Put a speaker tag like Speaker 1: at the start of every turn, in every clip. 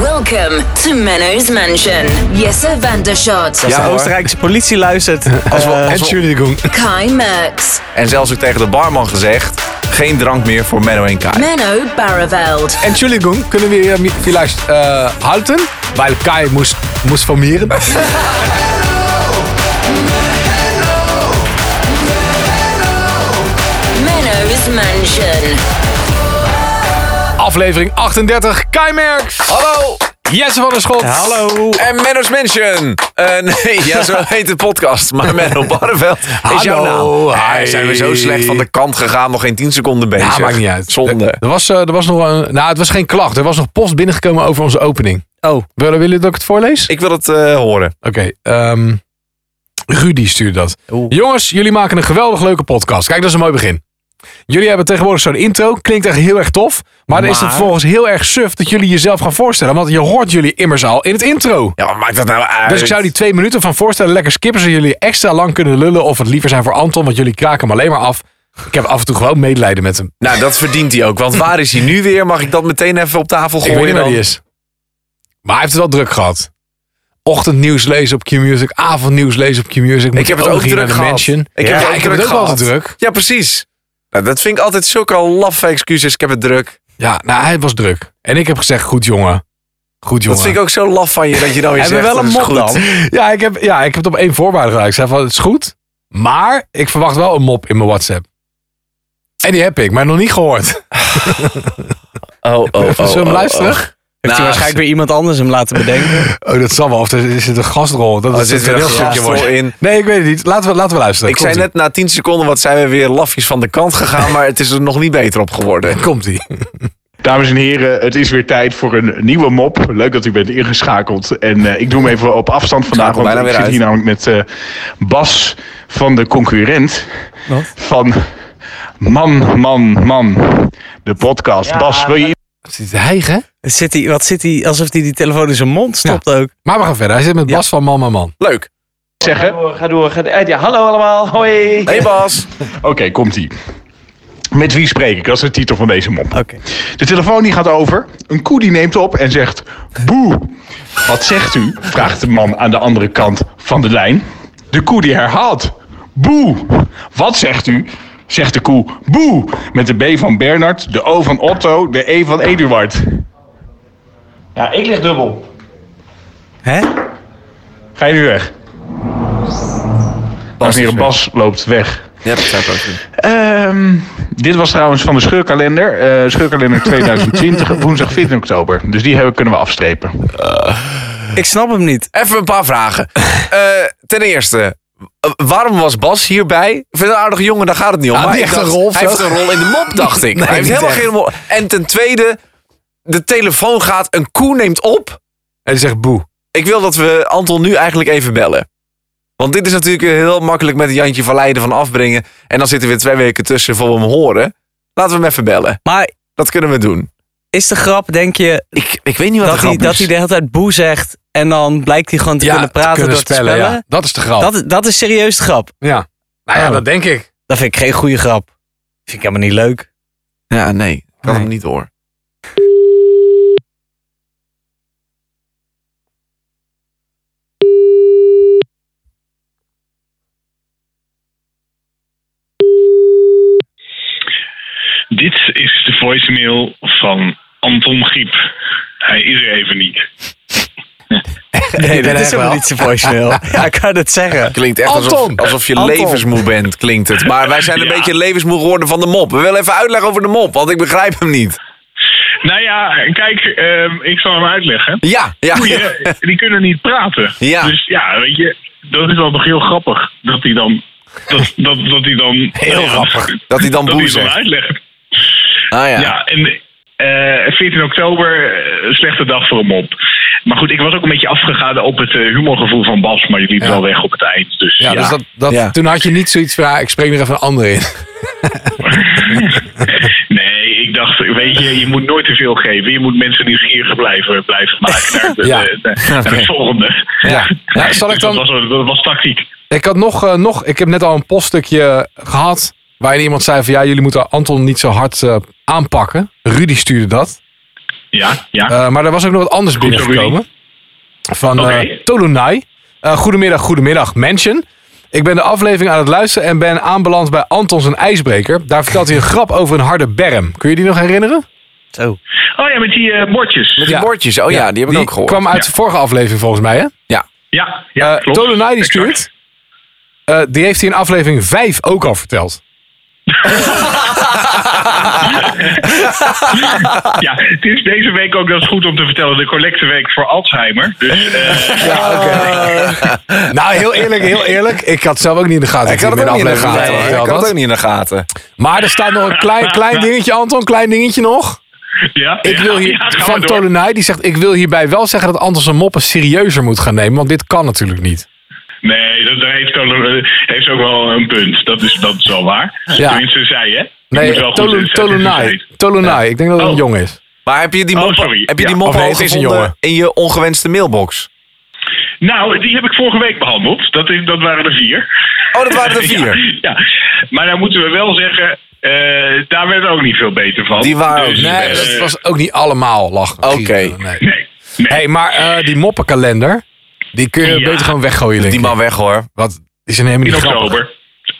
Speaker 1: Welcome to Menno's Mansion. Jesse Vandershot.
Speaker 2: Ja,
Speaker 3: hoor.
Speaker 2: Oostenrijkse politie luistert. eh,
Speaker 3: Als we, als we-
Speaker 4: Entschuldigung.
Speaker 1: Kai Merks.
Speaker 3: en zelfs ook tegen de barman gezegd: geen drank meer voor Menno en Kai.
Speaker 1: Menno Barreveld.
Speaker 4: Entschuldigung, können wir
Speaker 3: eh,
Speaker 4: hier mi- vielleicht äh, halten? Weil Kai muss, muss formieren.
Speaker 1: Menno's Mansion.
Speaker 4: Aflevering 38, Kai Merks.
Speaker 3: Hallo!
Speaker 4: Jesse van der Schot.
Speaker 2: Ja, hallo.
Speaker 3: En Menno's Mansion. Eh, nee, ja, zo heet de podcast. Maar Menno Barneveld is jouw
Speaker 4: Hallo,
Speaker 3: naam.
Speaker 4: hi.
Speaker 3: Eh, zijn we zo slecht van de kant gegaan. Nog geen 10 seconden bezig.
Speaker 4: Ja, maakt niet uit.
Speaker 3: Zonde.
Speaker 4: Er, er was, eh, er was nog een, nou, het was geen klacht. Er was nog post binnengekomen over onze opening.
Speaker 2: Oh.
Speaker 4: Willen willen dat ik het voorlees?
Speaker 3: Ik wil het eh, horen.
Speaker 4: Oké, ehm, Rudy stuurde dat.
Speaker 2: Oeh.
Speaker 4: Jongens, jullie maken een geweldig leuke podcast. Kijk, dat is een mooi begin. Jullie hebben tegenwoordig zo'n intro. Klinkt echt heel erg tof. Maar, dan is het
Speaker 2: Maar-
Speaker 4: vervolgens heel erg suf dat jullie jezelf gaan voorstellen. Want je hoort jullie immers al in het intro.
Speaker 3: Ja, maar maakt dat nou uit?
Speaker 4: Dus ik zou die twee minuten van voorstellen lekker skippen. Zodat jullie extra lang kunnen lullen. Of het liever zijn voor Anton. Want jullie kraken hem alleen maar af. Ik heb af en toe gewoon medelijden met hem.
Speaker 3: Nou, dat verdient hij ook. Want waar is hij nu weer? Mag ik dat meteen even op tafel
Speaker 4: Ik
Speaker 3: gooien?
Speaker 4: weet niet waar
Speaker 3: dan?
Speaker 4: die is. Maar hij heeft het wel druk gehad. Ochtendnieuws lezen op Q-Music. Avondnieuws lezen op Q-Music.
Speaker 3: Ik heb het ook druk gehad.
Speaker 4: Mansion.
Speaker 3: Ik
Speaker 4: Ja,
Speaker 3: heb het ook
Speaker 4: ik heb
Speaker 3: druk
Speaker 4: het ook wel
Speaker 3: gehad.
Speaker 4: druk.
Speaker 3: Ja, precies. Nou, dat vind ik altijd zulke laffe excuses. Ik heb het druk.
Speaker 4: Ja, nou, hij was druk. En ik heb gezegd, goed jongen. Goed jongen.
Speaker 3: Dat vind ik ook zo laf van je dat je dan weer
Speaker 2: Hebben we wel
Speaker 3: zegt. dat
Speaker 2: een
Speaker 3: is
Speaker 2: mop
Speaker 3: goed.
Speaker 2: dan?
Speaker 4: Ja, ik heb, ja, ik heb het op één voorwaarde geraakt. Ik zei van, het is goed, maar ik verwacht wel een mop in mijn WhatsApp. En die heb ik, maar nog niet gehoord.
Speaker 3: Oh, oh, oh.
Speaker 4: Zullen we hem
Speaker 3: oh,
Speaker 4: luisteren?
Speaker 3: oh.
Speaker 2: Heeft hij
Speaker 3: Nou,
Speaker 2: waarschijnlijk weer iemand anders hem laten bedenken.
Speaker 4: Oh, dat zal wel. Of er zit een gastrol. Dat
Speaker 3: Oh, er
Speaker 4: is
Speaker 3: zit weer
Speaker 4: een
Speaker 3: een
Speaker 4: heel stukje
Speaker 3: gastrol
Speaker 4: mooi.
Speaker 3: in.
Speaker 4: Nee, ik weet het niet. Laten we, laten we luisteren.
Speaker 3: Ik zei net na 10 seconden, wat zijn we weer lafjes van de kant gegaan, maar het is er nog niet beter op geworden.
Speaker 4: Komt-ie.
Speaker 5: Dames en heren, het is weer tijd voor een nieuwe mop. Leuk dat u bent ingeschakeld. En eh, ik doe hem even op afstand vandaag,
Speaker 3: Schakel
Speaker 5: want ik
Speaker 3: bijna
Speaker 5: zit
Speaker 3: weer
Speaker 5: hier namelijk met eh, Bas van de concurrent. Van Man, Man, Man, de podcast. Bas, wil je
Speaker 4: Zit te hijgen?
Speaker 2: Zit hij, wat zit hij, alsof hij die telefoon in zijn mond stopt ook.
Speaker 4: Maar we gaan verder. Hij zit met Bas van Man Man Man.
Speaker 3: Leuk.
Speaker 5: iets zeggen?
Speaker 6: Ga door, ga door. Ga door. Ja, hallo allemaal, hoi.
Speaker 3: Hey Bas.
Speaker 5: Oké, komt-ie. Met wie spreek ik? Dat is de titel van deze mop.
Speaker 2: Oké.
Speaker 5: De telefoon die gaat over. Een koe die neemt op en zegt boe. Wat zegt u? Vraagt de man aan de andere kant van de lijn. De koe die herhaalt boe. Wat zegt u? Zegt de koe boe. Met de B van Bernard, de O van Otto, de E van Eduard.
Speaker 6: Ja, ik lig dubbel.
Speaker 2: Hè?
Speaker 5: Ga je nu weg? Dames en heren, Bas loopt weg.
Speaker 3: Ja, dat zou ik ook doen.
Speaker 5: Ehm, dit was trouwens van de scheurkalender. eh scheurkalender 2020, woensdag 14 oktober. Dus die hebben, kunnen we afstrepen.
Speaker 2: Ik snap hem niet.
Speaker 3: Even een paar vragen. Eh, ten eerste, eh, waarom was Bas hierbij? Ik vind het een aardige jongen, daar gaat het niet om.
Speaker 4: Ja,
Speaker 3: maar
Speaker 4: die
Speaker 3: ik
Speaker 4: heeft
Speaker 3: dacht,
Speaker 4: een rol of
Speaker 3: hij
Speaker 4: zo.
Speaker 3: Ah, heeft een rol in de mop, dacht ik. hij heeft
Speaker 4: niet
Speaker 3: helemaal
Speaker 4: echt.
Speaker 3: geen rol. En ten tweede, de telefoon gaat, een koe neemt op.
Speaker 4: En die zegt boe.
Speaker 3: Ik wil dat we Anton nu eigenlijk even bellen. Want dit is natuurlijk heel makkelijk met Jantje van Leiden van afbrengen. En dan zitten we twee weken tussen voor we hem horen. Laten we hem even bellen.
Speaker 2: Maar
Speaker 3: Dat kunnen we doen.
Speaker 2: is de grap, denk je,
Speaker 3: Ik, ik weet niet wat
Speaker 2: dat
Speaker 3: de
Speaker 2: hij,
Speaker 3: grap
Speaker 2: dat
Speaker 3: is.
Speaker 2: hij de hele tijd boe zegt en dan blijkt hij gewoon te kunnen praten
Speaker 4: te kunnen
Speaker 2: door
Speaker 4: spellen,
Speaker 2: te
Speaker 4: Ja. Oh.
Speaker 2: spellen?
Speaker 4: Dat is de grap.
Speaker 2: Dat, dat is serieus de grap.
Speaker 4: Ja. Nou ja, dat denk ik.
Speaker 2: Dat vind ik geen goede grap. Vind ik helemaal niet leuk.
Speaker 3: Ja, nee. Ik kan hem niet hoor.
Speaker 7: Dit is de voicemail van Anton Giep. Hij is er even niet.
Speaker 2: Nee, dat
Speaker 4: echt
Speaker 2: is helemaal
Speaker 4: wel.
Speaker 2: niet zijn voicemail. ja, ik kan het zeggen.
Speaker 3: Klinkt echt alsof,
Speaker 4: Anton!
Speaker 3: alsof je
Speaker 4: Anton!
Speaker 3: levensmoe bent, klinkt het. Maar wij zijn een
Speaker 7: Ja.
Speaker 3: beetje levensmoe geworden van de mop. We willen even uitleg over de mop, want ik begrijp hem niet.
Speaker 7: Nou ja, kijk, ehm, ik zal hem uitleggen.
Speaker 3: Ja, ja.
Speaker 7: Koeien, die kunnen niet praten.
Speaker 3: Ja.
Speaker 7: Dus ja, weet je, dat is dan toch heel grappig. Dat hij dan... Dat, dat, dat hij dan heel
Speaker 3: grappig. Dat hij dan
Speaker 7: dat
Speaker 3: boe
Speaker 7: hij dan
Speaker 3: zegt.
Speaker 7: uitlegt.
Speaker 3: Ah ja.
Speaker 7: Ja, en eh, 14 oktober, eh, slechte dag voor hem op. Maar goed, ik was ook een beetje afgegaan op het eh, humorgevoel van Bas. Maar je liep wel weg op het eind. Dus
Speaker 4: Ja,
Speaker 7: ja.
Speaker 4: dus dat, dat,
Speaker 3: Ja.
Speaker 4: toen had je niet zoiets van, ja, ik spreek er even een ander in.
Speaker 7: Nee, ik dacht, weet je, je moet nooit te veel geven. Je moet mensen nieuwsgierig blijven, blijven maken naar, de,
Speaker 4: Ja.
Speaker 7: de- de- naar het volgende.
Speaker 4: Ja. Ja, zal ik
Speaker 7: Dus
Speaker 4: dan-
Speaker 7: Dat was, dat was tactiek.
Speaker 4: Ik had nog, eh, nog, ik heb net al een poststukje gehad. waarin iemand zei van ja, jullie moeten Anton niet zo hard eh, aanpakken. Rudy stuurde dat.
Speaker 7: Ja, ja.
Speaker 4: Eh, maar er was ook nog wat anders
Speaker 7: Goed zo,
Speaker 4: binnengekomen. Van eh
Speaker 7: Oké.
Speaker 4: Tolunai. Eh, goedemiddag, goedemiddag, Mansion. Ik ben de aflevering aan het luisteren en ben aanbeland bij Anton zijn ijsbreker. Daar vertelt hij een grap over een harde berm. Kun je die nog herinneren?
Speaker 2: Zo.
Speaker 7: Oh ja, met die eh, bordjes.
Speaker 3: Met die
Speaker 4: Ja.
Speaker 3: bordjes, oh ja, die heb ik ook gehoord.
Speaker 4: kwam uit
Speaker 7: Ja.
Speaker 4: de vorige aflevering volgens mij, hè?
Speaker 7: Ja, ja
Speaker 4: Eh,
Speaker 7: klopt.
Speaker 4: Tolunai die
Speaker 7: Exact.
Speaker 4: stuurt. eh, die heeft hij in aflevering 5 ook al verteld.
Speaker 7: Ja, het is deze week ook, dat is goed om te vertellen, de collecteweek voor Alzheimer. Dus eh,
Speaker 4: Nou, heel eerlijk, heel eerlijk. Ik had zelf ook niet in de gaten.
Speaker 3: ik had
Speaker 4: dat
Speaker 3: het ook
Speaker 4: hij
Speaker 3: niet in de
Speaker 4: aflevering
Speaker 3: gaten.
Speaker 4: had verteld
Speaker 3: Ik had het
Speaker 4: had.
Speaker 3: ook niet in de gaten.
Speaker 4: Maar er staat nog een klein, klein dingetje, Anton. Klein dingetje nog.
Speaker 7: ja,
Speaker 4: Ik
Speaker 7: ja,
Speaker 4: wil hier,
Speaker 7: ja, ga maar
Speaker 4: van
Speaker 7: door.
Speaker 4: Tolunay, die zegt... Ik wil hierbij wel zeggen dat Anton zijn moppen serieuzer moet gaan nemen. Want dit kan natuurlijk niet.
Speaker 7: Nee, dat, daar heeft, Tolu- eh, heeft ze ook wel een punt. Dat is, dat is wel waar.
Speaker 4: Ja.
Speaker 7: Tenminste, zij hè? Ik moet wel
Speaker 4: Nee,
Speaker 7: goed
Speaker 4: Tolun-
Speaker 7: inzetten,
Speaker 4: Tolunay.
Speaker 7: dus-
Speaker 4: Tolunay. Ik denk dat het een
Speaker 7: Oh.
Speaker 4: jong is.
Speaker 3: Maar heb je die
Speaker 7: Oh,
Speaker 3: mop,
Speaker 7: sorry.
Speaker 3: heb je
Speaker 7: Ja.
Speaker 3: die mop
Speaker 4: Of nee,
Speaker 3: al
Speaker 4: het is een
Speaker 3: gevonden
Speaker 4: jongen.
Speaker 3: in je ongewenste mailbox?
Speaker 7: Nou, die heb ik vorige week behandeld. Dat, is, dat waren er vier.
Speaker 3: Oh, dat waren er vier.
Speaker 7: Ja, ja. maar dan moeten we wel zeggen, eh, daar werd ook niet veel beter van.
Speaker 3: Die waren ook
Speaker 7: Dus,
Speaker 3: niet
Speaker 7: eh,
Speaker 4: Nee, dat was ook niet allemaal lachen.
Speaker 3: Oké.
Speaker 4: Gieren, nee.
Speaker 7: Nee. nee.
Speaker 4: Hey, maar eh, die moppenkalender... Die kun je
Speaker 7: Ja.
Speaker 4: beter gewoon weggooien, denk
Speaker 3: Dus Die
Speaker 4: ik.
Speaker 3: man weg hoor.
Speaker 4: Wat is er helemaal niet
Speaker 7: in
Speaker 4: grappig.
Speaker 7: oktober.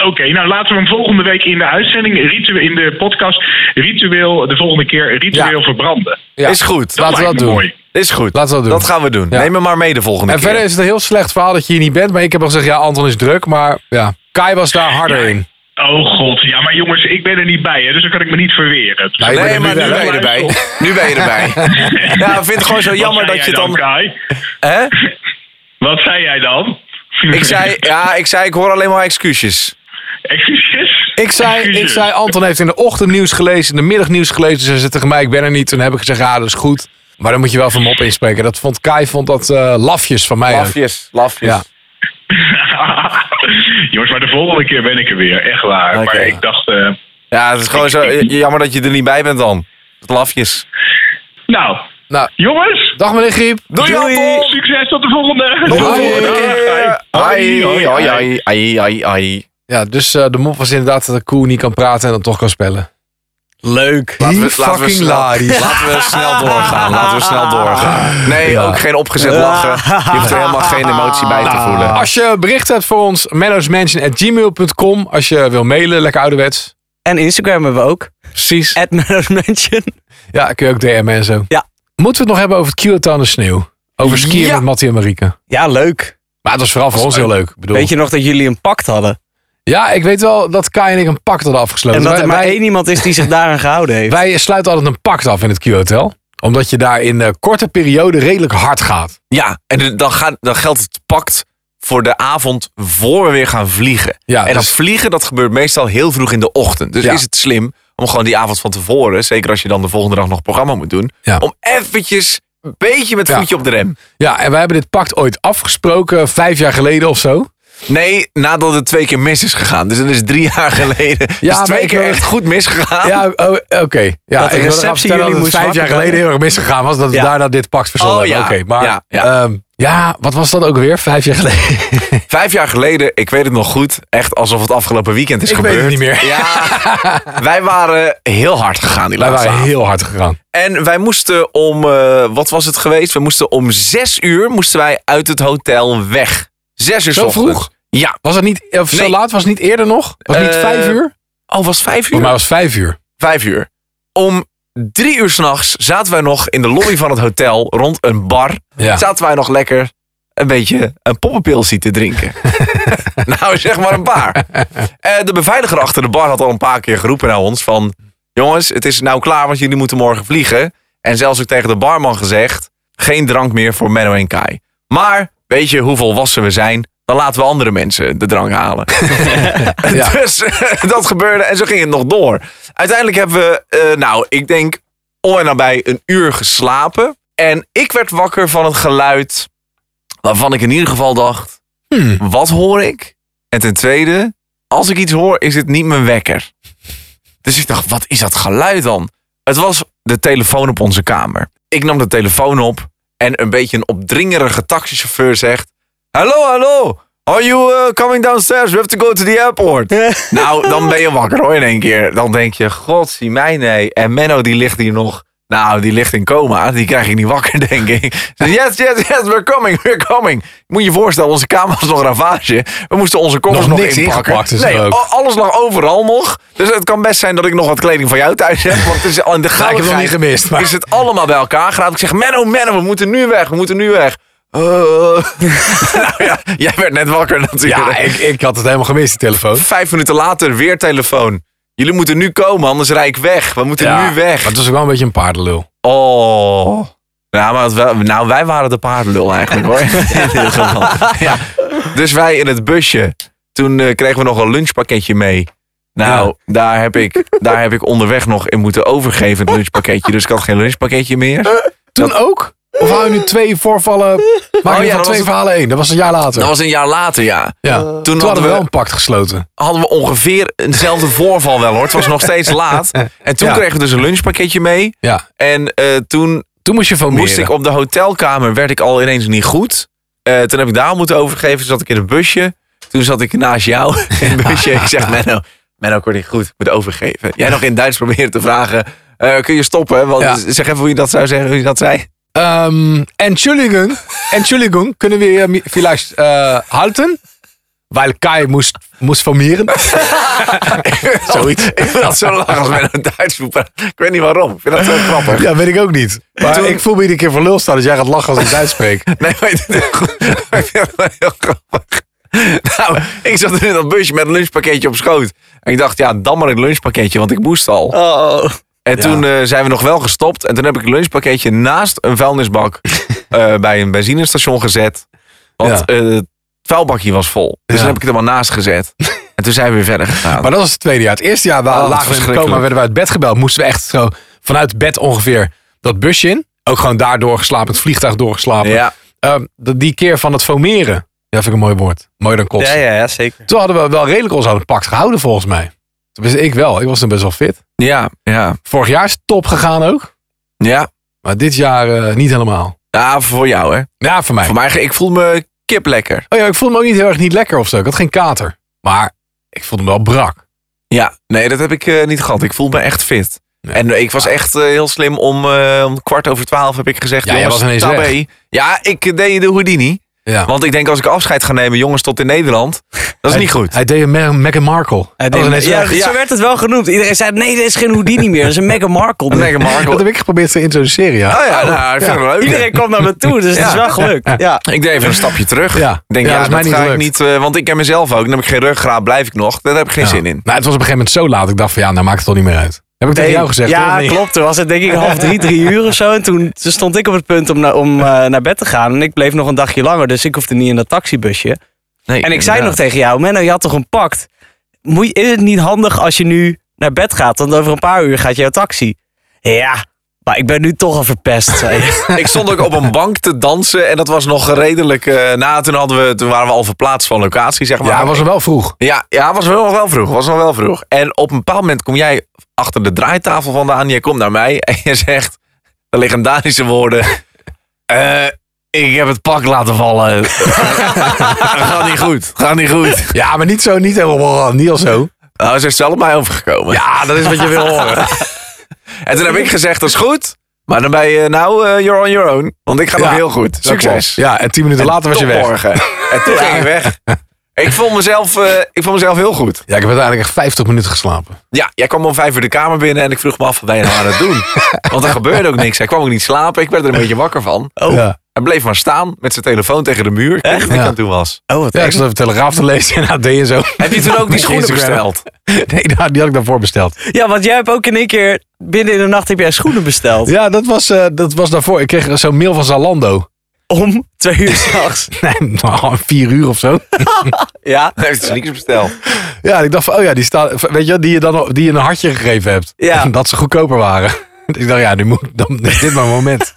Speaker 7: Oké, nou laten we hem volgende week in de uitzending, ritueel, in de podcast, ritueel, de volgende keer ritueel
Speaker 4: Ja.
Speaker 7: verbranden.
Speaker 4: Ja.
Speaker 3: Is goed.
Speaker 7: Dat
Speaker 4: Laten we
Speaker 7: lijkt
Speaker 4: dat doen.
Speaker 7: me mooi.
Speaker 3: Is goed.
Speaker 4: Laten we dat doen.
Speaker 3: Dat gaan we doen.
Speaker 4: Ja.
Speaker 3: Neem hem maar mee de volgende
Speaker 4: En
Speaker 3: keer.
Speaker 4: verder is het een heel slecht verhaal dat je hier niet bent. Maar ik heb al gezegd, ja, Anton is druk. Maar ja, Kai was daar harder
Speaker 7: Ja.
Speaker 4: in.
Speaker 7: Oh god, ja maar jongens, ik ben er niet bij, hè, dus dan kan ik me niet verweren.
Speaker 4: Nou, je bent
Speaker 3: Nee,
Speaker 4: er
Speaker 3: maar nu Oh.
Speaker 4: nu
Speaker 3: ben
Speaker 4: bij.
Speaker 3: je erbij. Nu ben je erbij. Ja, ik vind het gewoon zo jammer dat je het dan...
Speaker 7: Kai?
Speaker 3: Hè?
Speaker 7: Wat zei jij dan?
Speaker 3: Ik zei, ja, ik zei, ik hoor alleen maar excuses.
Speaker 7: Excuses?
Speaker 4: Ik zei, ik
Speaker 7: Excuses.
Speaker 4: zei, Anton heeft in de ochtend nieuws gelezen, in de middag nieuws gelezen. Ze zei tegen mij, ik ben er niet. Toen heb ik gezegd, ja, dat is goed. Maar dan moet je wel van mop inspreken. Dat vond Kai vond dat eh, lafjes van mij. ook.
Speaker 3: Lafjes, lafjes.
Speaker 4: Ja.
Speaker 7: Jongens, maar de volgende keer ben ik er weer, echt waar.
Speaker 3: Oké.
Speaker 7: Maar ik dacht, eh,
Speaker 3: Ja, het is gewoon zo eh, jammer dat je er niet bij bent dan. Lafjes.
Speaker 7: nou,
Speaker 4: Nou,
Speaker 7: jongens,
Speaker 4: dag meneer Griep.
Speaker 3: Doei, Anton!
Speaker 7: succes tot de volgende.
Speaker 4: Doei.
Speaker 7: Dag, Kai.
Speaker 3: Eh, Hoi, hoi, hoi, hoi, hoi, hoi.
Speaker 4: Ja, dus eh, de mop was inderdaad dat de koe niet kan praten en dan toch kan spellen.
Speaker 2: Leuk.
Speaker 3: Laten
Speaker 4: Die fucking
Speaker 3: snel,
Speaker 4: lari.
Speaker 3: laten we snel doorgaan. Laten we snel doorgaan. Nee, ook geen opgezet lachen. Je hoeft er helemaal geen emotie bij te voelen.
Speaker 4: Als je bericht hebt voor ons, mennosmansion.gmail.com. Als je wil mailen, lekker ouderwets.
Speaker 2: En Instagram hebben we ook.
Speaker 4: Precies.
Speaker 2: At Meadows Mansion.
Speaker 4: Ja, kun je ook DM'en en zo.
Speaker 2: Ja.
Speaker 4: Moeten we het nog hebben over het Kyoto en de sneeuw? Over skiën
Speaker 3: Ja.
Speaker 4: met Mattie en Marieke.
Speaker 2: Ja, leuk.
Speaker 4: Maar het was vooral voor ons heel leuk. Ik Bedoel,
Speaker 2: Weet je nog dat jullie een pact hadden?
Speaker 4: Ja, ik weet wel dat Kai en ik een pact hadden afgesloten.
Speaker 2: En dat
Speaker 4: wij,
Speaker 2: er maar
Speaker 4: wij,
Speaker 2: één iemand is die zich daaraan gehouden heeft.
Speaker 4: wij sluiten altijd een pact af in het Q-hotel. Omdat je daar in eh, korte periode redelijk hard gaat.
Speaker 3: Ja, en de- dan, gaat, dan geldt het pact voor de avond voor we weer gaan vliegen.
Speaker 4: Ja,
Speaker 3: en
Speaker 4: dat
Speaker 3: dat
Speaker 4: is-
Speaker 3: vliegen dat gebeurt meestal heel vroeg in de ochtend. Dus
Speaker 4: Ja.
Speaker 3: is het slim om gewoon die avond van tevoren, zeker als je dan de volgende dag nog programma moet doen,
Speaker 4: Ja.
Speaker 3: om eventjes een beetje met
Speaker 4: Ja.
Speaker 3: voetje op de rem.
Speaker 4: Ja, en wij hebben dit pact ooit afgesproken, vijf jaar geleden of zo.
Speaker 3: Nee, nadat het twee keer mis is gegaan. Dus dat is drie jaar geleden.
Speaker 4: Ja,
Speaker 3: dus
Speaker 4: maar
Speaker 3: twee
Speaker 4: ik
Speaker 3: keer
Speaker 4: wil-
Speaker 3: echt goed misgegaan.
Speaker 4: Ja, oh, oké. Ja,
Speaker 2: Ah. Dat de
Speaker 4: ik wilde
Speaker 2: receptie
Speaker 4: graag
Speaker 2: jullie
Speaker 4: vertellen dat het
Speaker 2: moest
Speaker 4: vijf jaar
Speaker 2: wakker
Speaker 4: geleden heel erg misgegaan was. Dat we
Speaker 2: Ja.
Speaker 4: daarna dit pact verzonnen
Speaker 3: Oh,
Speaker 4: hebben.
Speaker 3: ja.
Speaker 4: Oké, maar
Speaker 3: Ja,
Speaker 4: ja,
Speaker 3: ja.
Speaker 4: ja. ja, wat was dat ook weer? Vijf jaar geleden.
Speaker 3: Vijf jaar geleden, ik weet het nog goed, echt alsof het afgelopen weekend is
Speaker 4: Ik weet
Speaker 3: gebeurd.
Speaker 4: het niet meer.
Speaker 3: Ja, wij waren heel hard gegaan die
Speaker 4: Wij
Speaker 3: laatste
Speaker 4: waren
Speaker 3: avond.
Speaker 4: heel hard gegaan.
Speaker 3: En wij moesten om, eh, wat was het geweest? We moesten om zes uur moesten wij uit het hotel weg. Zes uur
Speaker 4: Zo
Speaker 3: ochtends.
Speaker 4: vroeg?
Speaker 3: Ja.
Speaker 4: Was het niet, of
Speaker 3: Nee.
Speaker 4: zo laat was het niet eerder nog? Was het niet
Speaker 3: Eh,
Speaker 4: vijf uur?
Speaker 3: Oh, was het vijf uur?
Speaker 4: Voor mij was het vijf uur.
Speaker 3: Vijf uur. Om drie uur s'nachts zaten wij nog in de lobby van het hotel rond een bar.
Speaker 4: Ja.
Speaker 3: Zaten wij nog lekker een beetje een poppenpilsie te drinken. nou, zeg maar een paar. Eh, de beveiliger achter de bar had al een paar keer geroepen naar ons van... Jongens, het is nou klaar, want jullie moeten morgen vliegen. En zelfs ook tegen de barman gezegd... Geen drank meer voor Menno en Kai. Maar, weet je hoe volwassen we zijn? Dan laten we andere mensen de drank halen.
Speaker 4: Ja.
Speaker 3: Dus dat gebeurde en zo ging het nog door. Uiteindelijk hebben we, eh, nou, ik denk om en nabij een uur geslapen. En ik werd wakker van het geluid waarvan ik in ieder geval dacht...
Speaker 4: Hmm.
Speaker 3: Wat hoor ik? En ten tweede, als ik iets hoor, is het niet mijn wekker. Dus ik dacht, wat is dat geluid dan? Het was de telefoon op onze kamer. Ik nam de telefoon op en een beetje een opdringerige taxichauffeur zegt... Hallo, hallo! Are you eh, coming downstairs? We have to go to the airport. nou, dan ben je wakker hoor in één keer. Dan denk je, god, zie mij nee. En Menno die ligt hier nog Nou, die ligt in coma. Die krijg ik niet wakker, denk ik. Ze zei, Yes, yes, yes, we're coming, we're coming. Moet je je voorstellen, onze kamer was nog ravage. We moesten onze koffers
Speaker 4: Nog
Speaker 3: nog,
Speaker 4: niks
Speaker 3: inpakken.
Speaker 4: ingepakt is er
Speaker 3: nee, oh,
Speaker 4: ook.
Speaker 3: a- alles lag overal nog. Dus het kan best zijn dat ik nog wat kleding van jou thuis heb. Want het is al in de
Speaker 4: Nou, heb hem
Speaker 3: gauwigheid
Speaker 4: niet gemist, maar-
Speaker 3: Is het allemaal bij elkaar geraakt. Ik zeg, Menno, Menno, we moeten nu weg, we moeten nu weg. Eh. nou ja, jij werd net wakker natuurlijk.
Speaker 4: Ja, ik, ik had het helemaal gemist, die telefoon.
Speaker 3: Vijf minuten later weer telefoon. Jullie moeten nu komen, anders rijd ik weg. We moeten
Speaker 4: Ja,
Speaker 3: nu weg.
Speaker 4: Maar het was ook wel een beetje een paardenlul.
Speaker 3: Oh. Nou, maar het wel- nou, wij waren de paardenlul eigenlijk hoor. In dit geval. ja. Dus wij in het busje. Toen eh, kregen we nog een lunchpakketje mee. Nou, daar, heb ik, daar heb ik onderweg nog in moeten overgeven, het lunchpakketje. Dus ik had geen lunchpakketje meer.
Speaker 4: Toen ook? Of hou je nu twee voorvallen... Maak
Speaker 3: ja,
Speaker 4: je
Speaker 3: dat
Speaker 4: van
Speaker 3: was
Speaker 4: twee
Speaker 3: het-
Speaker 4: verhalen één. Dat was een jaar later.
Speaker 3: Dat was een jaar later, ja.
Speaker 4: ja.
Speaker 3: toen
Speaker 4: Toen,
Speaker 3: hadden
Speaker 4: hadden we
Speaker 3: we-
Speaker 4: wel een pact gesloten.
Speaker 3: hadden we ongeveer eenzelfde voorval wel hoor. Het was nog steeds laat. En toen
Speaker 4: Ja.
Speaker 3: kregen we dus een lunchpakketje mee.
Speaker 4: Ja.
Speaker 3: En eh, toen
Speaker 4: Toen moest je van
Speaker 3: moest ik op de hotelkamer, werd ik al ineens niet goed. Eh, toen heb ik daar moeten overgeven. Toen zat ik in een busje. Toen zat ik naast jou in het busje. Ik zeg, Menno, Menno, ik word niet goed. Ik moet overgeven. Jij nog in Duits proberen te vragen. eh, kun je stoppen? Want
Speaker 4: Ja.
Speaker 3: Zeg even hoe je dat zou zeggen, hoe je dat zei.
Speaker 4: Ehm, Entschuldigung, Entschuldigung, kunnen we hier mi- vielleicht eh, halten? Weil Kai moest, moest formieren.
Speaker 3: Zoiets. ik vind dat zo lang als Menno Duits moet praten. Ik weet niet waarom. Ik vind dat zo grappig.
Speaker 4: Ja, weet ik ook niet. Maar
Speaker 3: Toen-
Speaker 4: ik voel me iedere keer voor lul staan dat jij gaat lachen als ik Duits spreek.
Speaker 3: Nee, maar ik vind het wel heel grappig. Nou, ik zat in dat busje met een lunchpakketje op schoot. En ik dacht, ja, dan maar een lunchpakketje, want ik moest al.
Speaker 4: Oh,
Speaker 3: En toen eh, zijn we nog wel gestopt. En toen heb ik een lunchpakketje naast een vuilnisbak eh, bij een benzinestation gezet. Want
Speaker 4: Ja.
Speaker 3: eh, het vuilbakje was vol. Dus
Speaker 4: Ja.
Speaker 3: dan heb ik het er maar naast gezet. En toen zijn we weer verder gegaan.
Speaker 4: Maar dat was het tweede jaar. Het eerste jaar waren,
Speaker 3: Oh,
Speaker 4: lagen we in de
Speaker 3: verschrikkelijk.
Speaker 4: coma, werden we uit bed gebeld. Moesten we echt zo vanuit bed ongeveer dat busje in. Ook gewoon daar doorgeslapen, het vliegtuig doorgeslapen.
Speaker 3: ja.
Speaker 4: Ehm, dat- die keer van het fomeren. Ja, vind ik een mooi woord. Mooier dan kotsen.
Speaker 2: Ja, ja, ja, zeker.
Speaker 4: Toen hadden we wel redelijk ons aan het pact gehouden volgens mij. Tenminste, ik wel. Ik was toen best wel fit.
Speaker 3: ja, ja,
Speaker 4: Vorig jaar is top gegaan ook.
Speaker 3: ja.
Speaker 4: Maar dit jaar eh, niet helemaal.
Speaker 3: Ja, voor jou hè.
Speaker 4: Ja, voor mij.
Speaker 3: Voor mij, ik voel me kip lekker.
Speaker 4: Oh ja, ik voelde me ook niet heel erg niet lekker of zo. Ik had geen kater. Maar ik voelde me wel brak.
Speaker 3: Ja, nee, dat heb ik eh, niet gehad. Ik voel me echt fit.
Speaker 4: Nee. Ah.
Speaker 3: En ik was echt eh, heel slim om, eh, om kwart over twaalf heb ik gezegd.
Speaker 4: Ja, jij
Speaker 3: jongens,
Speaker 4: was ineens
Speaker 3: tabé. Ja, ik deed de Houdini.
Speaker 4: Ja.
Speaker 3: Want ik denk als ik afscheid ga nemen, jongens tot in Nederland, dat is
Speaker 4: Hij-
Speaker 3: niet goed.
Speaker 4: Hij deed een Me- Meghan Markle. Oh,
Speaker 2: Hij
Speaker 4: Dat was
Speaker 2: deed-
Speaker 4: ineens
Speaker 2: ja,
Speaker 4: weg.
Speaker 2: Zo werd het wel genoemd. Iedereen zei, nee, dit is geen Houdini meer. Dat is een Meghan Markle.
Speaker 3: Lekker Marco.
Speaker 4: Dat heb ik geprobeerd te introduceren, ja.
Speaker 3: Oh ja, nou, ik vind het leuk.
Speaker 2: Iedereen kwam naar me toe, dus het is wel gelukt. Ja.
Speaker 3: Ik deed even een stapje terug.
Speaker 4: Ja.
Speaker 3: Ik denk,
Speaker 4: Ja,
Speaker 3: ja,
Speaker 4: dat is
Speaker 3: dat,
Speaker 4: mij niet
Speaker 3: ga ik
Speaker 4: gelukt.
Speaker 3: niet, eh, want ik ken mezelf ook. Dan heb ik geen ruggraat, blijf ik nog. Daar heb ik geen
Speaker 4: Ja.
Speaker 3: zin in.
Speaker 4: Nou, het was op een gegeven moment zo laat. Ik dacht van ja, nou maakt het toch niet meer uit. Heb ik tegen jou gezegd? hoor, of
Speaker 2: ja,
Speaker 4: niet?
Speaker 2: klopt. Toen was het denk ik half drie, drie uur of zo. En toen stond ik op het punt om, na- om eh, naar bed te gaan. En ik bleef nog een dagje langer, dus ik hoefde niet in dat taxibusje.
Speaker 3: Nee,
Speaker 2: En ik zei
Speaker 3: inderdaad.
Speaker 2: nog tegen jou, Menno, je had toch een pact? Moet, je- is het niet handig als je nu naar bed gaat? Want over een paar uur gaat jouw taxi. Ja, maar ik ben nu toch al verpest. zei je.
Speaker 3: Ik stond ook op een bank te dansen en dat was nog redelijk. eh na, toen, hadden we, toen waren we al verplaatst van locatie, zeg maar.
Speaker 4: Ja, hij was er wel vroeg.
Speaker 3: Ja, ja, was wel nog wel vroeg. Was nog wel vroeg. En op een bepaald moment kom jij achter de draaitafel vandaan. Jij komt naar mij en je zegt de legendarische woorden. eh, ik heb het pak laten vallen. gaat niet goed. Gaat niet goed.
Speaker 4: Ja, maar niet zo, niet helemaal, eh, niet al zo.
Speaker 3: Nou, ze is zelf op mij overgekomen.
Speaker 4: Ja, dat is wat je wil horen.
Speaker 3: En toen heb ik gezegd, dat is goed. Maar dan ben je nou, eh, you're on your own. Want ik ga nog
Speaker 4: Ja,
Speaker 3: heel goed.
Speaker 4: Dat klopt.
Speaker 3: Succes.
Speaker 4: Ja, en tien minuten later was je
Speaker 3: Tot
Speaker 4: weg.
Speaker 3: morgen. En toen ging ik weg. Ik vond, mezelf, eh, ik vond mezelf heel goed.
Speaker 4: Ja, ik heb uiteindelijk echt 50 minuten geslapen.
Speaker 3: Ja, jij kwam om vijf uur de kamer binnen en ik vroeg me af wat wij nou aan het doen. Want er gebeurde ook niks. Hij kwam ook niet slapen. Ik werd er een beetje wakker van.
Speaker 4: Oh. Ja.
Speaker 3: Hij bleef maar staan met zijn telefoon tegen de muur. Ik weet niet wat ik
Speaker 4: Ja.
Speaker 3: aan toe was.
Speaker 2: Oh, wat
Speaker 4: Ja, ik zat even Telegraaf te lezen en AD en zo.
Speaker 3: Heb je toen ook die schoenen
Speaker 4: Instagram.
Speaker 3: besteld?
Speaker 4: Nee, nou, die had ik daarvoor besteld.
Speaker 2: Ja, want jij hebt ook in één keer binnen in de nacht heb jij schoenen besteld.
Speaker 4: Ja, dat was, eh, dat was daarvoor. Ik kreeg zo'n mail van Zalando.
Speaker 2: Om twee uur s'nachts.
Speaker 4: Nee, nou, vier uur of zo.
Speaker 2: Ja,
Speaker 3: Hij heeft sneakers besteld.
Speaker 4: Ja, ik dacht van, oh ja, die staan, weet je, wel, die je dan al- die je een hartje gegeven hebt.
Speaker 2: Ja.
Speaker 4: En Dat ze goedkoper waren. Dus ik dacht, ja, nu moet, ik- dan is dit mijn moment.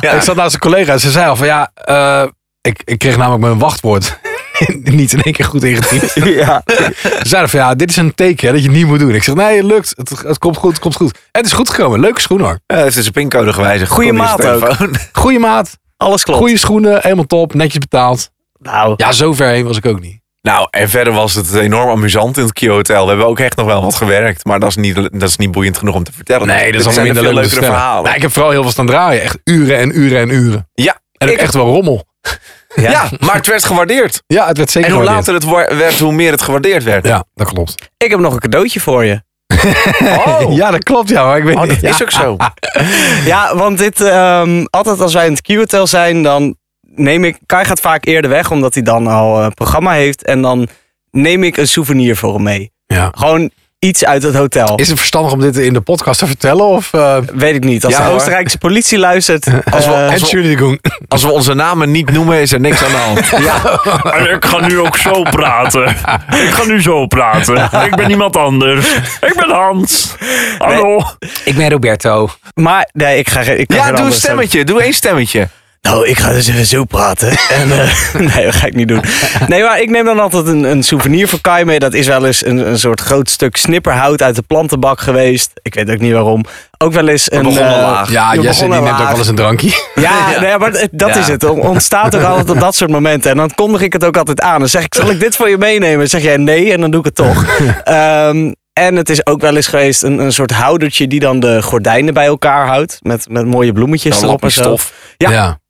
Speaker 4: Ik zat naast een collega en ze zei al van, ja, eh, ik, ik kreeg namelijk mijn wachtwoord niet in één keer goed ingetypt.
Speaker 2: ja.
Speaker 4: Ze zeiden van, ja, dit is een teken hè, dat je het niet moet doen. Ik zeg, nee, het lukt. Het, het komt goed, het komt goed. En het is goed gekomen. Leuke schoen hoor.
Speaker 3: Ja, hij heeft dus zijn pincode gewijzigd.
Speaker 2: Goeie
Speaker 3: Kom in
Speaker 2: maat
Speaker 3: zijn
Speaker 2: ook.
Speaker 3: telefoon.
Speaker 4: Goeie maat,
Speaker 2: Alles klopt.
Speaker 4: goede schoenen, helemaal top, netjes betaald.
Speaker 2: Nou,
Speaker 4: Ja, zo ver heen was ik ook niet.
Speaker 3: Nou, en verder was het enorm amusant in het Kio Hotel. We hebben ook echt nog wel wat gewerkt. Maar dat is niet, dat is niet boeiend genoeg om te vertellen.
Speaker 4: Nee, dat is
Speaker 3: Dit
Speaker 4: allemaal
Speaker 3: zijn
Speaker 4: minder
Speaker 3: de
Speaker 4: leuk.
Speaker 3: veel
Speaker 4: om te
Speaker 3: leukere
Speaker 4: vertellen.
Speaker 3: verhalen.
Speaker 4: Nou, ik heb vooral heel veel staan draaien. Echt uren en uren en uren.
Speaker 3: ja,
Speaker 4: En ook
Speaker 3: ik-
Speaker 4: echt wel rommel.
Speaker 3: ja. maar het werd gewaardeerd.
Speaker 4: Ja, het werd zeker
Speaker 3: En hoe
Speaker 4: gewaardeerd.
Speaker 3: later het wa- werd, hoe meer het gewaardeerd werd.
Speaker 4: Ja, dat klopt.
Speaker 2: Ik heb nog een cadeautje voor je.
Speaker 3: Oh,
Speaker 4: Ja, dat klopt. Ja, maar ik weet
Speaker 3: Oh, dat
Speaker 4: Ja. Ah,
Speaker 3: is ook zo.
Speaker 2: Ja, want dit, ehm, altijd als wij in het Q-hotel zijn, dan neem ik... Kai gaat vaak eerder weg, omdat hij dan al eh, programma heeft. En dan neem ik een souvenir voor hem mee.
Speaker 4: Ja.
Speaker 2: Gewoon iets uit het hotel.
Speaker 4: Is het verstandig om dit in de podcast te vertellen? Of, eh,
Speaker 2: Weet ik niet. Als
Speaker 3: Ja,
Speaker 2: de
Speaker 3: hoor.
Speaker 2: Oostenrijkse politie luistert...
Speaker 3: Als we-
Speaker 2: eh,
Speaker 4: en
Speaker 3: wel-
Speaker 4: Julie de Goen.
Speaker 3: Als we onze namen niet noemen, is er niks aan de hand.
Speaker 8: Ik ga nu ook zo praten. Ik ga nu zo praten. Ik ben niemand anders. Ik ben Hans. Hallo.
Speaker 9: Ik ben Roberto.
Speaker 2: maar nee, ik ga... geen- Ik kan
Speaker 3: Ja,
Speaker 2: geen
Speaker 3: doe
Speaker 2: andere
Speaker 3: een
Speaker 2: stem.
Speaker 3: stemmetje. Doe één stemmetje.
Speaker 2: Nou, ik ga dus even zo praten. En, eh, nee, dat ga ik niet doen. Nee, maar ik neem dan altijd een, een souvenir voor Kai mee. Dat is wel eens een, een soort groot stuk snipperhout uit de plantenbak geweest. Ik weet ook niet waarom. Ook wel eens een...
Speaker 3: begonnen
Speaker 2: eh,
Speaker 3: laag.
Speaker 4: Ja,
Speaker 2: we
Speaker 4: Jesse die
Speaker 2: begonnen
Speaker 4: neemt ook
Speaker 2: laag.
Speaker 4: wel eens een drankje.
Speaker 2: Ja, Nee, maar het- dat
Speaker 3: Ja.
Speaker 2: is het. Er ontstaat ook altijd op dat soort momenten. En dan kondig ik het ook altijd aan. Dan zeg ik, zal ik dit voor je meenemen? Dan zeg jij nee en dan doe ik het toch. Ehm, en het is ook wel eens geweest een, een soort houdertje die dan de gordijnen bij elkaar houdt. Met, met mooie bloemetjes
Speaker 3: Dan
Speaker 2: erop en
Speaker 3: lapje
Speaker 2: zo.
Speaker 3: stof.
Speaker 2: Ja.
Speaker 4: ja.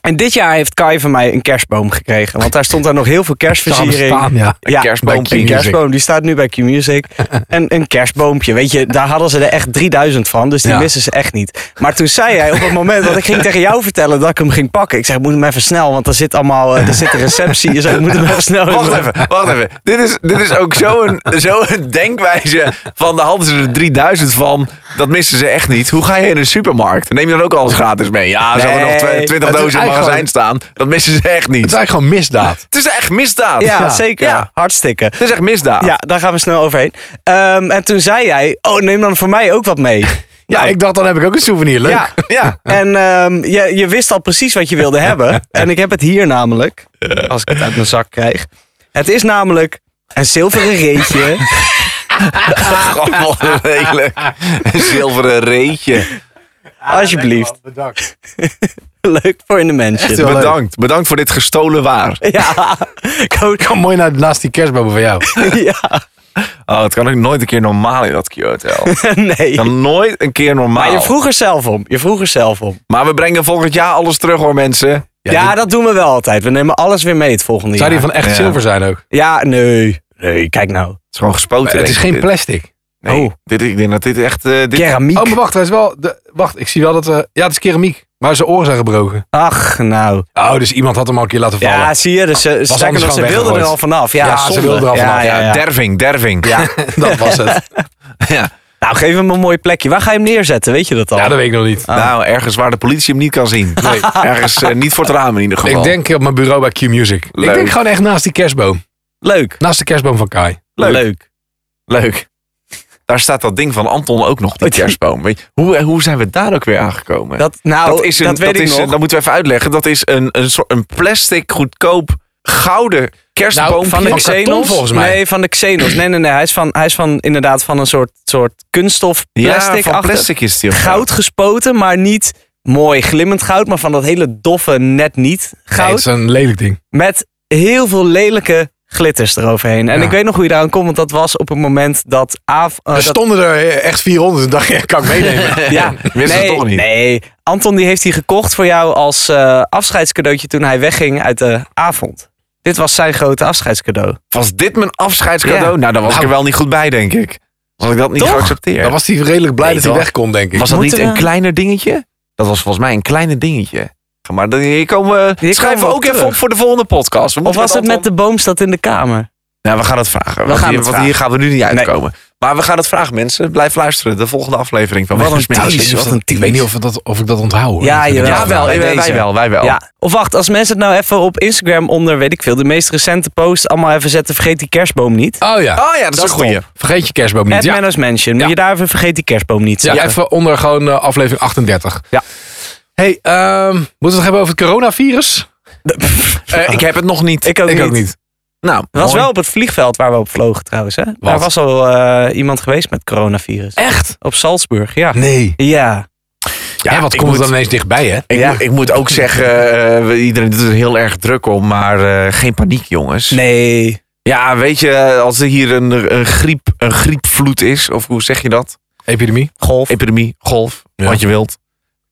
Speaker 2: En dit jaar heeft Kai van mij een kerstboom gekregen. Want daar stond daar nog heel veel kerstversiering.
Speaker 4: Staan, ja.
Speaker 2: Ja,
Speaker 3: kerstboom.
Speaker 2: een
Speaker 4: Music.
Speaker 2: kerstboom. Die staat nu bij Q-Music. En een kerstboompje. Weet je, daar hadden ze er echt 3000 van. Dus die
Speaker 4: Ja.
Speaker 2: missen ze echt niet. Maar toen zei hij op het moment dat ik ging tegen jou vertellen dat ik hem ging pakken. Ik zeg, moet hem even snel. Want er zit allemaal, eh, er zit een receptie. Dus ik moet hem even snel.
Speaker 3: Wacht even, wacht even. Dit is, dit is ook zo'n zo een denkwijze van de hadden ze er 3000 van. Dat misten ze echt niet. Hoe ga je in een supermarkt? Neem je dan ook alles gratis mee? Ja, ze hadden nog
Speaker 2: Nee.
Speaker 3: twe-
Speaker 4: Het
Speaker 3: 20
Speaker 4: is
Speaker 3: dozen in het
Speaker 4: eigenlijk
Speaker 3: magazijn staan. Dat missen ze echt
Speaker 4: Het
Speaker 3: niet.
Speaker 4: is eigenlijk gewoon misdaad.
Speaker 3: Het is echt misdaad.
Speaker 2: Ja,
Speaker 3: Ja.
Speaker 2: zeker.
Speaker 3: Ja.
Speaker 2: Hartstikke.
Speaker 3: Het is echt misdaad.
Speaker 2: Ja, daar gaan we snel overheen. Ehm, en toen zei hij, oh neem dan voor mij ook wat mee.
Speaker 4: Ja, Nou, ik dacht dan heb ik ook een souvenir. Leuk.
Speaker 2: Ja,
Speaker 3: Ja.
Speaker 2: En ehm, je, je wist al precies wat je wilde hebben. En ik heb het hier namelijk. Als ik het uit mijn zak krijg. Het is namelijk een zilveren reetje.
Speaker 3: Gewoon wat een lelijk. Een zilveren reetje.
Speaker 2: Alsjeblieft.
Speaker 4: Bedankt.
Speaker 2: Leuk voor in de mensen.
Speaker 4: heel leuk.
Speaker 3: Bedankt. Bedankt voor dit gestolen waar.
Speaker 2: Ja. Coach.
Speaker 4: Kom mooi naar, naast die kerstboom van jou.
Speaker 2: Ja.
Speaker 3: Oh, het kan ook nooit een keer normaal in dat Kyoto.
Speaker 2: Nee.
Speaker 3: Dan nooit een keer normaal.
Speaker 2: Maar je vroeg er zelf om. Je vroeg er zelf om.
Speaker 3: Maar we brengen volgend jaar alles terug hoor mensen.
Speaker 2: Ja, dat doen we wel altijd. We nemen alles weer mee het volgende
Speaker 4: Zou
Speaker 2: jaar.
Speaker 4: die van echt
Speaker 3: Ja.
Speaker 4: zilver zijn ook?
Speaker 2: Ja, nee. Nee, kijk nou.
Speaker 3: Het is gewoon gespoten.
Speaker 4: het
Speaker 3: denk
Speaker 4: is
Speaker 3: ik.
Speaker 4: geen
Speaker 3: Dit-
Speaker 4: plastic.
Speaker 3: Nee,
Speaker 2: Oh.
Speaker 3: dit, ik denk dat dit echt... eh, dit,
Speaker 2: Keramiek.
Speaker 4: Oh, maar wacht, hij is wel. De, wacht, ik zie wel dat. eh ja, het is keramiek. Maar zijn oren zijn gebroken.
Speaker 2: Ach, nou.
Speaker 4: Oh, dus iemand had hem al een keer laten vallen.
Speaker 2: Ja, zie je. Dus ze, sterker
Speaker 4: anders
Speaker 2: nog, ze
Speaker 4: gewoon
Speaker 2: wilden er
Speaker 4: weggegooid.
Speaker 2: al vanaf. Ja,
Speaker 4: Ja, ze
Speaker 2: zonde.
Speaker 4: wilden er al vanaf.
Speaker 3: ja, derving, derving. Ja.
Speaker 4: dat was het.
Speaker 2: Nou, geef hem een mooi plekje. Waar ga je hem neerzetten? Weet je dat al?
Speaker 4: Ja, dat weet ik nog niet.
Speaker 3: Nou, ergens waar de politie hem niet kan zien. Nee. Ergens eh, niet voor het raam in ieder geval.
Speaker 4: Ik denk op mijn bureau bij Q Music.
Speaker 3: Leuk.
Speaker 4: Ik denk gewoon echt naast die kerstboom.
Speaker 2: Leuk.
Speaker 4: Naast de kerstboom van Kai.
Speaker 2: Leuk.
Speaker 3: Leuk. Daar staat dat ding van Anton ook nog, die
Speaker 2: Oh, die-
Speaker 3: kerstboom. Weet je, hoe, eh, hoe zijn we daar ook weer aangekomen?
Speaker 2: Dat, nou, dat,
Speaker 3: een,
Speaker 2: weet ik
Speaker 3: is een-
Speaker 2: nog.
Speaker 3: dat moeten we even uitleggen. Dat is een, een, soort, een plastic goedkoop gouden kerstboompje.
Speaker 2: van de
Speaker 4: van karton,
Speaker 2: Xenos?
Speaker 4: volgens mij.
Speaker 2: Nee, van de Xenos. Nee, nee, nee. Hij is van, hij is van inderdaad van een soort, soort kunststof plastic.
Speaker 3: ja, van plastic is die. of zo.
Speaker 2: Goud gespoten, maar niet mooi glimmend goud. Maar van dat hele doffe net niet
Speaker 4: Nee,
Speaker 2: goud.
Speaker 4: het is een lelijk ding.
Speaker 2: Met heel veel lelijke glitters eroverheen. En
Speaker 4: Ja.
Speaker 2: ik weet nog hoe je eraan komt, want dat was op het moment dat... Af, eh,
Speaker 4: Er
Speaker 2: dat
Speaker 4: stonden er echt 400 en dacht ik, ja, kan ik meenemen.
Speaker 2: Ja,
Speaker 3: Wist het toch niet?
Speaker 2: Nee, Anton die heeft die gekocht voor jou als eh, afscheidscadeautje toen hij wegging uit de avond. Dit was zijn grote afscheidscadeau.
Speaker 3: Was dit mijn afscheidscadeau?
Speaker 2: Ja.
Speaker 3: Nou, daar was ik
Speaker 4: Nou.
Speaker 3: er wel niet goed bij, denk ik. Als ik dat niet
Speaker 2: Toch?
Speaker 3: geaccepteerd.
Speaker 4: Dan was hij redelijk blij
Speaker 3: Nee,
Speaker 4: dat hij
Speaker 3: toch?
Speaker 4: weg kon, denk ik.
Speaker 3: Was dat
Speaker 2: Moeten
Speaker 3: niet een
Speaker 2: we-
Speaker 3: kleiner dingetje? Dat was volgens mij een kleiner dingetje. Maar dan- hier komen we,
Speaker 2: Hier
Speaker 3: schrijven
Speaker 2: komen
Speaker 3: we
Speaker 2: we
Speaker 3: ook
Speaker 2: terug.
Speaker 3: even op voor de volgende podcast. We
Speaker 2: Of
Speaker 3: moeten
Speaker 2: was het met de boom staat in de kamer?
Speaker 3: Anton- Nou, we gaan het vragen. want
Speaker 2: gaan
Speaker 3: hier,
Speaker 2: het
Speaker 3: want hier gaan we nu niet uitkomen. Maar we gaan het vragen, mensen. Blijf luisteren. De volgende aflevering van Wat
Speaker 4: Ja, ik weet niet of dat- Ik weet niet of, we dat, of ik dat onthoud. hoor.
Speaker 2: Ja,
Speaker 4: Ik heb
Speaker 2: jawel.
Speaker 4: het
Speaker 3: Ja, wel.
Speaker 2: Bij
Speaker 3: Wij, wij
Speaker 2: deze.
Speaker 3: wel. Wij wel.
Speaker 2: Ja. Of wacht, als mensen het nou even op Instagram onder, weet ik veel, de meest recente post allemaal even zetten. Vergeet die kerstboom niet.
Speaker 4: Oh ja,
Speaker 3: Oh ja, dat, is een goeie.
Speaker 4: vergeet je kerstboom niet.
Speaker 2: At
Speaker 4: Ja,
Speaker 2: Menno's Mansion. Moet
Speaker 4: Ja.
Speaker 2: je daar even vergeet die kerstboom niet
Speaker 4: ja,
Speaker 2: zetten.
Speaker 4: even onder gewoon eh, aflevering 38.
Speaker 2: Ja.
Speaker 4: hey, ehm, moeten we het nog hebben over het coronavirus?
Speaker 3: Eh, ik heb het nog niet.
Speaker 2: Ik ook
Speaker 4: ik
Speaker 2: niet.
Speaker 4: ook niet.
Speaker 3: Nou,
Speaker 2: Het was
Speaker 3: mooi.
Speaker 2: wel op het vliegveld waar we op vlogen trouwens. Hè? Daar was al eh, iemand geweest met coronavirus.
Speaker 4: Echt?
Speaker 2: Op Salzburg, ja.
Speaker 4: Nee.
Speaker 2: Ja.
Speaker 4: Ja, wat
Speaker 3: ik
Speaker 4: komt er
Speaker 3: moet-
Speaker 4: dan ineens dichtbij, hè?
Speaker 3: Ik,
Speaker 2: Ja.
Speaker 3: moet, ik moet ook zeggen, eh, we- iedereen doet er heel erg druk om. Maar eh, geen paniek, jongens.
Speaker 2: Nee.
Speaker 3: Ja, weet je, als er hier een, een, griep, een griepvloed is, of hoe zeg je dat?
Speaker 4: Epidemie.
Speaker 2: Golf.
Speaker 3: Epidemie, golf, wat je wilt.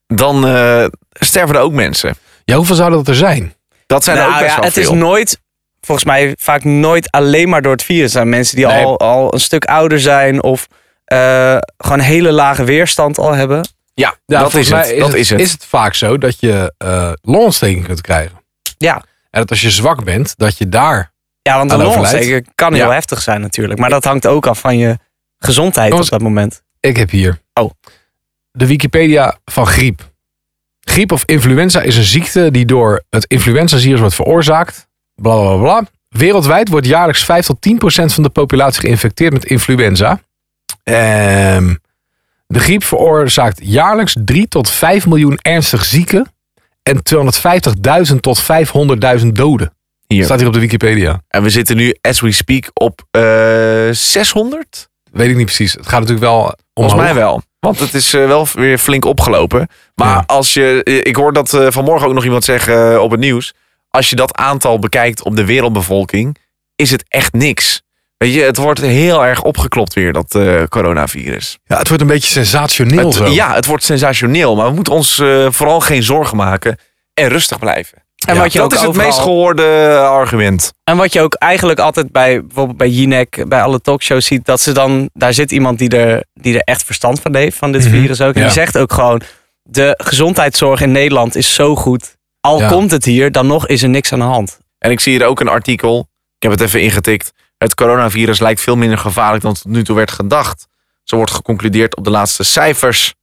Speaker 3: Dan eh, sterven er ook mensen.
Speaker 4: Ja, hoeveel zouden dat er zijn?
Speaker 3: Dat zijn er ook
Speaker 2: Nou
Speaker 3: best
Speaker 2: ja,
Speaker 3: wel
Speaker 2: het
Speaker 3: veel.
Speaker 2: is nooit, volgens mij vaak nooit alleen maar door het virus. Er zijn mensen die
Speaker 4: Nee.
Speaker 2: al, al een stuk ouder zijn of eh, gewoon hele lage weerstand al hebben.
Speaker 3: ja,
Speaker 4: Ja,
Speaker 3: dat,
Speaker 4: Nou, volgens
Speaker 3: is het,
Speaker 4: mij
Speaker 3: dat is het.
Speaker 4: Is het vaak zo dat je eh longontsteking kunt krijgen?
Speaker 2: Ja.
Speaker 4: En dat als je zwak bent, dat je daar...
Speaker 2: Ja, want
Speaker 4: Aan
Speaker 2: een
Speaker 4: overlijdt.
Speaker 2: longontsteking kan heel
Speaker 4: Ja.
Speaker 2: heftig zijn natuurlijk. Maar dat hangt ook af van je gezondheid
Speaker 4: Jongens,
Speaker 2: op dat moment.
Speaker 4: Ik heb hier.
Speaker 2: Oh.
Speaker 4: De Wikipedia van griep. Griep of influenza is een ziekte die door het influenzavirus wordt veroorzaakt. Bla bla bla, bla. Wereldwijd wordt jaarlijks 5 tot 10 procent van de populatie geïnfecteerd met influenza. Ehm, de griep veroorzaakt jaarlijks 3 tot 5 miljoen ernstig zieken en 250.000 tot 500.000 doden.
Speaker 3: Hier.
Speaker 4: Staat hier op de Wikipedia.
Speaker 3: En we zitten nu, as we speak, op eh 600?
Speaker 4: Weet ik niet precies. Het gaat natuurlijk wel om.
Speaker 3: Volgens mij wel. Want het is eh, wel weer flink opgelopen. Maar
Speaker 4: Ja.
Speaker 3: als je, ik hoor dat eh, vanmorgen ook nog iemand zeggen eh, op het nieuws. Als je dat aantal bekijkt op de wereldbevolking, is het echt niks. Weet je, het wordt heel erg opgeklopt weer, dat eh, coronavirus.
Speaker 4: Ja, het wordt een beetje sensationeel
Speaker 3: Het-
Speaker 4: zo.
Speaker 3: ja, het wordt sensationeel. Maar we moeten ons eh, vooral geen zorgen maken en rustig blijven.
Speaker 2: En,
Speaker 4: Ja,
Speaker 2: wat je
Speaker 3: dat
Speaker 2: ook
Speaker 3: is het
Speaker 2: overal-
Speaker 3: meest gehoorde argument.
Speaker 2: en wat je ook eigenlijk altijd bij bijvoorbeeld bij Jinek, bij alle talkshows ziet, dat ze dan, daar zit iemand die er, die er echt verstand van heeft, van dit
Speaker 4: Mhm.
Speaker 2: virus ook. En
Speaker 4: Ja.
Speaker 2: die zegt ook gewoon, de gezondheidszorg in Nederland is zo goed. Al
Speaker 4: Ja.
Speaker 2: komt het hier, dan nog is er niks aan de hand.
Speaker 3: En ik zie hier ook een artikel. Ik heb het even ingetikt. Het coronavirus lijkt veel minder gevaarlijk dan tot nu toe werd gedacht. Zo wordt geconcludeerd op de laatste cijfers.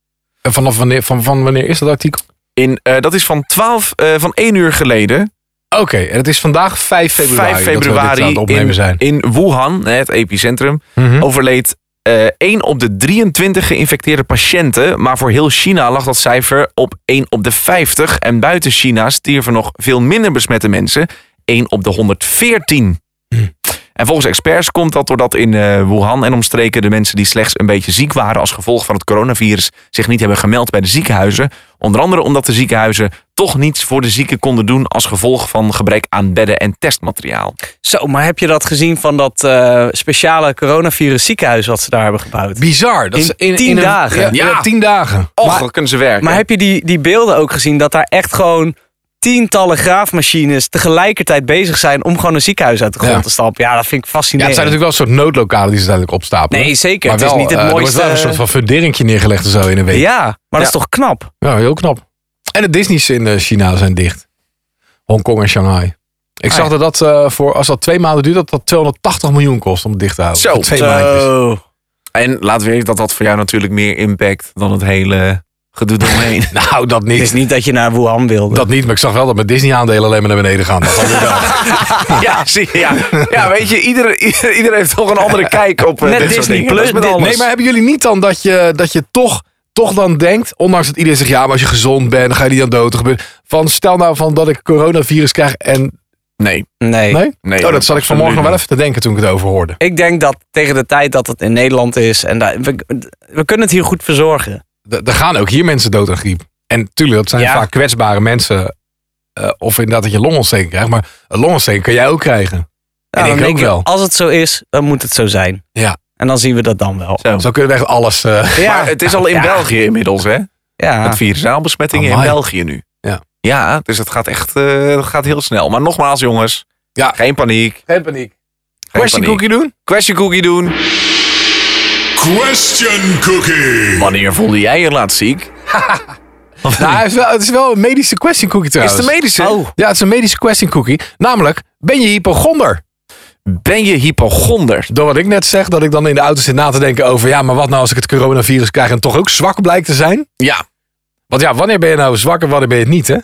Speaker 4: En vanaf wanneer, van, van wanneer is dat artikel?
Speaker 3: In, eh, dat is van 12, eh, van 1 uur geleden.
Speaker 4: Oké, en het is vandaag 5 februari.
Speaker 3: 5
Speaker 4: dat we dit
Speaker 3: februari
Speaker 4: aan het opnemen
Speaker 3: in,
Speaker 4: zijn. Mhm.
Speaker 3: in Wuhan, hè, het epicentrum, overleed eh 1 op de 23 geïnfecteerde patiënten. Maar voor heel China lag dat cijfer op 1 op de 50. En buiten China stierven nog veel minder besmette mensen. 1 op de 114. En volgens experts komt dat doordat in eh, Wuhan en omstreken de mensen die slechts een beetje ziek waren als gevolg van het coronavirus zich niet hebben gemeld bij de ziekenhuizen. Onder andere omdat de ziekenhuizen toch niets voor de zieken konden doen als gevolg van gebrek aan bedden en testmateriaal.
Speaker 2: Zo, maar heb je dat gezien van dat eh, speciale coronavirus ziekenhuis wat ze daar hebben gebouwd?
Speaker 4: Bizar. Dat
Speaker 2: In
Speaker 4: is
Speaker 2: tien
Speaker 4: een-
Speaker 2: dagen.
Speaker 4: Ja,
Speaker 3: Ja.
Speaker 4: ja, tien dagen.
Speaker 3: Och,
Speaker 4: Maar-
Speaker 3: dan kunnen ze werken.
Speaker 2: Maar heb je die, die beelden ook gezien dat daar echt gewoon tientallen graafmachines tegelijkertijd bezig zijn om gewoon een ziekenhuis uit de grond
Speaker 4: Ja.
Speaker 2: te stampen? Ja, dat vind ik
Speaker 4: ja, het
Speaker 2: fascinerend.
Speaker 4: zijn natuurlijk wel een soort noodlokalen die ze uiteindelijk opstapelen.
Speaker 2: Nee, zeker.
Speaker 4: Maar
Speaker 2: Het is
Speaker 4: wel,
Speaker 2: niet het
Speaker 4: eh, Er wordt
Speaker 2: mooiste-
Speaker 4: wel een soort van funderingje neergelegd en zo in een week. Ja,
Speaker 2: ja, maar dat is toch knap?
Speaker 4: heel knap. En de Disney's in eh, China zijn dicht. Hongkong en Shanghai. Ik
Speaker 2: Ah,
Speaker 4: zag dat dat eh, voor, als dat twee maanden duurt, dat dat 280 miljoen kost om het dicht te houden.
Speaker 3: Zo,
Speaker 4: Voor twee
Speaker 2: eh,
Speaker 3: zo.
Speaker 4: maandjes.
Speaker 3: En laat weten dat dat voor jou natuurlijk meer impact dan het hele gedoe eromheen.
Speaker 4: Nou, dat
Speaker 2: Het
Speaker 4: niet.
Speaker 2: is niet dat je naar Wuhan wilde.
Speaker 4: Dat niet, maar ik zag wel dat mijn Disney-aandelen alleen maar naar beneden gaan. Dat had ik wel.
Speaker 3: ja, zie je, ja. ja, weet je, iedereen ieder, ieder heeft toch een andere kijk op eh,
Speaker 2: Net
Speaker 3: dit soort
Speaker 2: Disney
Speaker 3: dingen.
Speaker 2: Plus,
Speaker 3: Dat is met
Speaker 2: dit-
Speaker 3: alles.
Speaker 4: Nee, maar hebben jullie niet dan dat je, dat je toch, toch dan denkt, ondanks dat iedereen zegt, ja, maar als je gezond bent, dan ga je niet aan dood gebeuren. Van stel nou van dat ik coronavirus krijg en.
Speaker 3: nee.
Speaker 2: nee.
Speaker 4: Nee?
Speaker 3: Nee,
Speaker 4: oh, dat
Speaker 3: dat
Speaker 4: zat ik
Speaker 3: is
Speaker 4: vanmorgen nog
Speaker 3: absoluut
Speaker 4: wel even te denken toen ik het over hoorde.
Speaker 2: Ik denk dat tegen de tijd dat het in Nederland is en daar- we, we kunnen het hier goed verzorgen.
Speaker 4: D- Er gaan ook hier mensen dood aan griep. En tuurlijk, dat zijn
Speaker 2: Ja.
Speaker 4: vaak kwetsbare mensen. Eh, of inderdaad dat je longontsteking krijgt. Maar een longontsteking kan jij ook krijgen.
Speaker 2: Nou,
Speaker 4: en ik
Speaker 2: dan
Speaker 4: ook
Speaker 2: denk
Speaker 4: wel.
Speaker 2: Als het zo is, dan moet het zo zijn.
Speaker 4: Ja.
Speaker 2: En dan zien we dat dan wel.
Speaker 3: Zo.
Speaker 4: Zo kunnen we echt alles... eh,
Speaker 2: Ja,
Speaker 3: Maar het is al in
Speaker 2: Ja.
Speaker 3: België inmiddels, hè?
Speaker 2: ja.
Speaker 3: Het virus zijn al besmettingen in
Speaker 4: Ah. Amai.
Speaker 3: België nu.
Speaker 4: Ja.
Speaker 3: ja, dus het gaat echt eh, het gaat heel snel. Maar nogmaals, jongens,
Speaker 4: Ja.
Speaker 3: geen paniek. Geen
Speaker 4: Geen paniek. Question
Speaker 3: paniek.
Speaker 4: cookie doen?
Speaker 3: Question cookie doen.
Speaker 9: Question Cookie.
Speaker 3: Wanneer voelde jij je laatst ziek?
Speaker 4: Nou, hij is wel, het is wel een medische question cookie
Speaker 3: Is
Speaker 4: trouwens.
Speaker 3: de medische?
Speaker 4: Ja, het is een medische question cookie. Namelijk, ben je hypochonder?
Speaker 3: Ben je hypochonder?
Speaker 4: Door wat ik net zeg, dat ik dan in de auto zit na te denken over... ja, maar wat nou als ik het coronavirus krijg en toch ook zwak blijkt te zijn?
Speaker 3: Ja.
Speaker 4: Want ja, wanneer ben je nou zwak en wanneer ben je het niet, hè?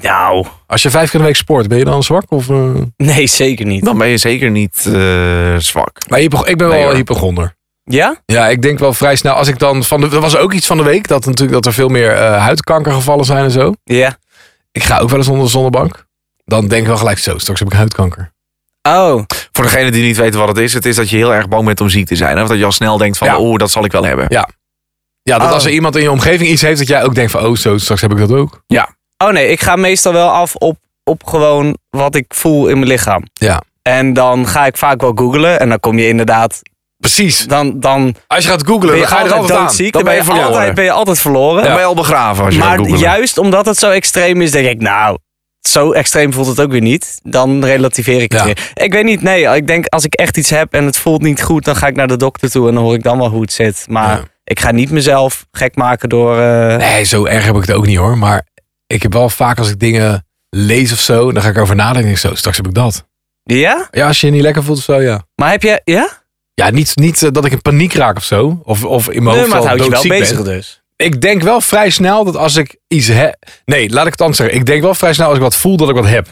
Speaker 2: Nou,
Speaker 4: Als je vijf keer in de week sport, ben je dan zwak? Of, eh?
Speaker 2: nee, zeker niet.
Speaker 3: Dan ben je zeker niet eh, zwak.
Speaker 4: Maar hypo- ik ben
Speaker 3: Nee,
Speaker 4: wel
Speaker 3: hoor.
Speaker 4: hypochonder.
Speaker 2: Ja?
Speaker 4: Ja, ik denk wel vrij snel. Als ik dan van de, er was ook iets van de week dat, natuurlijk, dat er veel meer eh, huidkankergevallen zijn en zo.
Speaker 2: Ja.
Speaker 4: Ik ga ook wel eens onder de zonnebank. Dan denk ik wel gelijk zo, straks heb ik huidkanker.
Speaker 2: Oh,
Speaker 3: Voor degene die niet weten wat het is, het is dat je heel erg bang bent om ziek te zijn. Hè? Of dat je al snel denkt van,
Speaker 4: Ja.
Speaker 3: oh, dat zal ik wel hebben.
Speaker 4: Ja, dat
Speaker 2: Oh.
Speaker 4: als er iemand in je omgeving iets heeft dat jij ook denkt van... oh zo, straks heb ik dat ook.
Speaker 2: oh nee, ik ga meestal wel af op, op gewoon wat ik voel in mijn lichaam.
Speaker 4: Ja.
Speaker 2: En dan ga ik vaak wel googlen. En dan kom je inderdaad...
Speaker 3: Precies.
Speaker 2: Dan, dan
Speaker 3: Als je gaat googlen,
Speaker 2: ben
Speaker 3: dan
Speaker 2: je
Speaker 3: ga je er
Speaker 2: altijd
Speaker 3: altijd aan.
Speaker 2: doodziek. Dan ben je,
Speaker 3: verloren.
Speaker 2: altijd, ben je altijd verloren.
Speaker 3: Dan ben je al begraven als je gaat
Speaker 2: Maar
Speaker 3: googlen.
Speaker 2: juist omdat het zo extreem is, denk ik, nou, zo extreem voelt het ook weer niet. Dan relativeer ik het
Speaker 4: Ja.
Speaker 2: weer. Ik weet niet, nee, ik denk als ik echt iets heb en het voelt niet goed, dan ga ik naar de dokter toe en dan hoor ik dan wel hoe het zit. Maar
Speaker 4: Ja.
Speaker 2: ik ga niet mezelf gek maken door. eh,
Speaker 4: Nee, zo erg heb ik het ook niet hoor. Maar ik heb wel vaak als ik dingen lees of zo, dan ga ik erover nadenken. Denk ik zo, straks heb ik dat.
Speaker 2: Ja?
Speaker 4: Ja, als je je niet lekker voelt of zo, ja.
Speaker 2: Maar heb je. Ja?
Speaker 4: Ja, niet, niet eh, dat ik in paniek raak of zo. Of, of in mijn
Speaker 2: Nee,
Speaker 4: hoofd
Speaker 2: maar het
Speaker 4: al
Speaker 2: houdt je wel
Speaker 4: doodziek ben.
Speaker 2: bezig dus.
Speaker 4: Ik denk wel vrij snel dat als ik iets heb... Nee, laat ik het anders zeggen. Ik denk wel vrij snel als ik wat voel dat ik wat heb.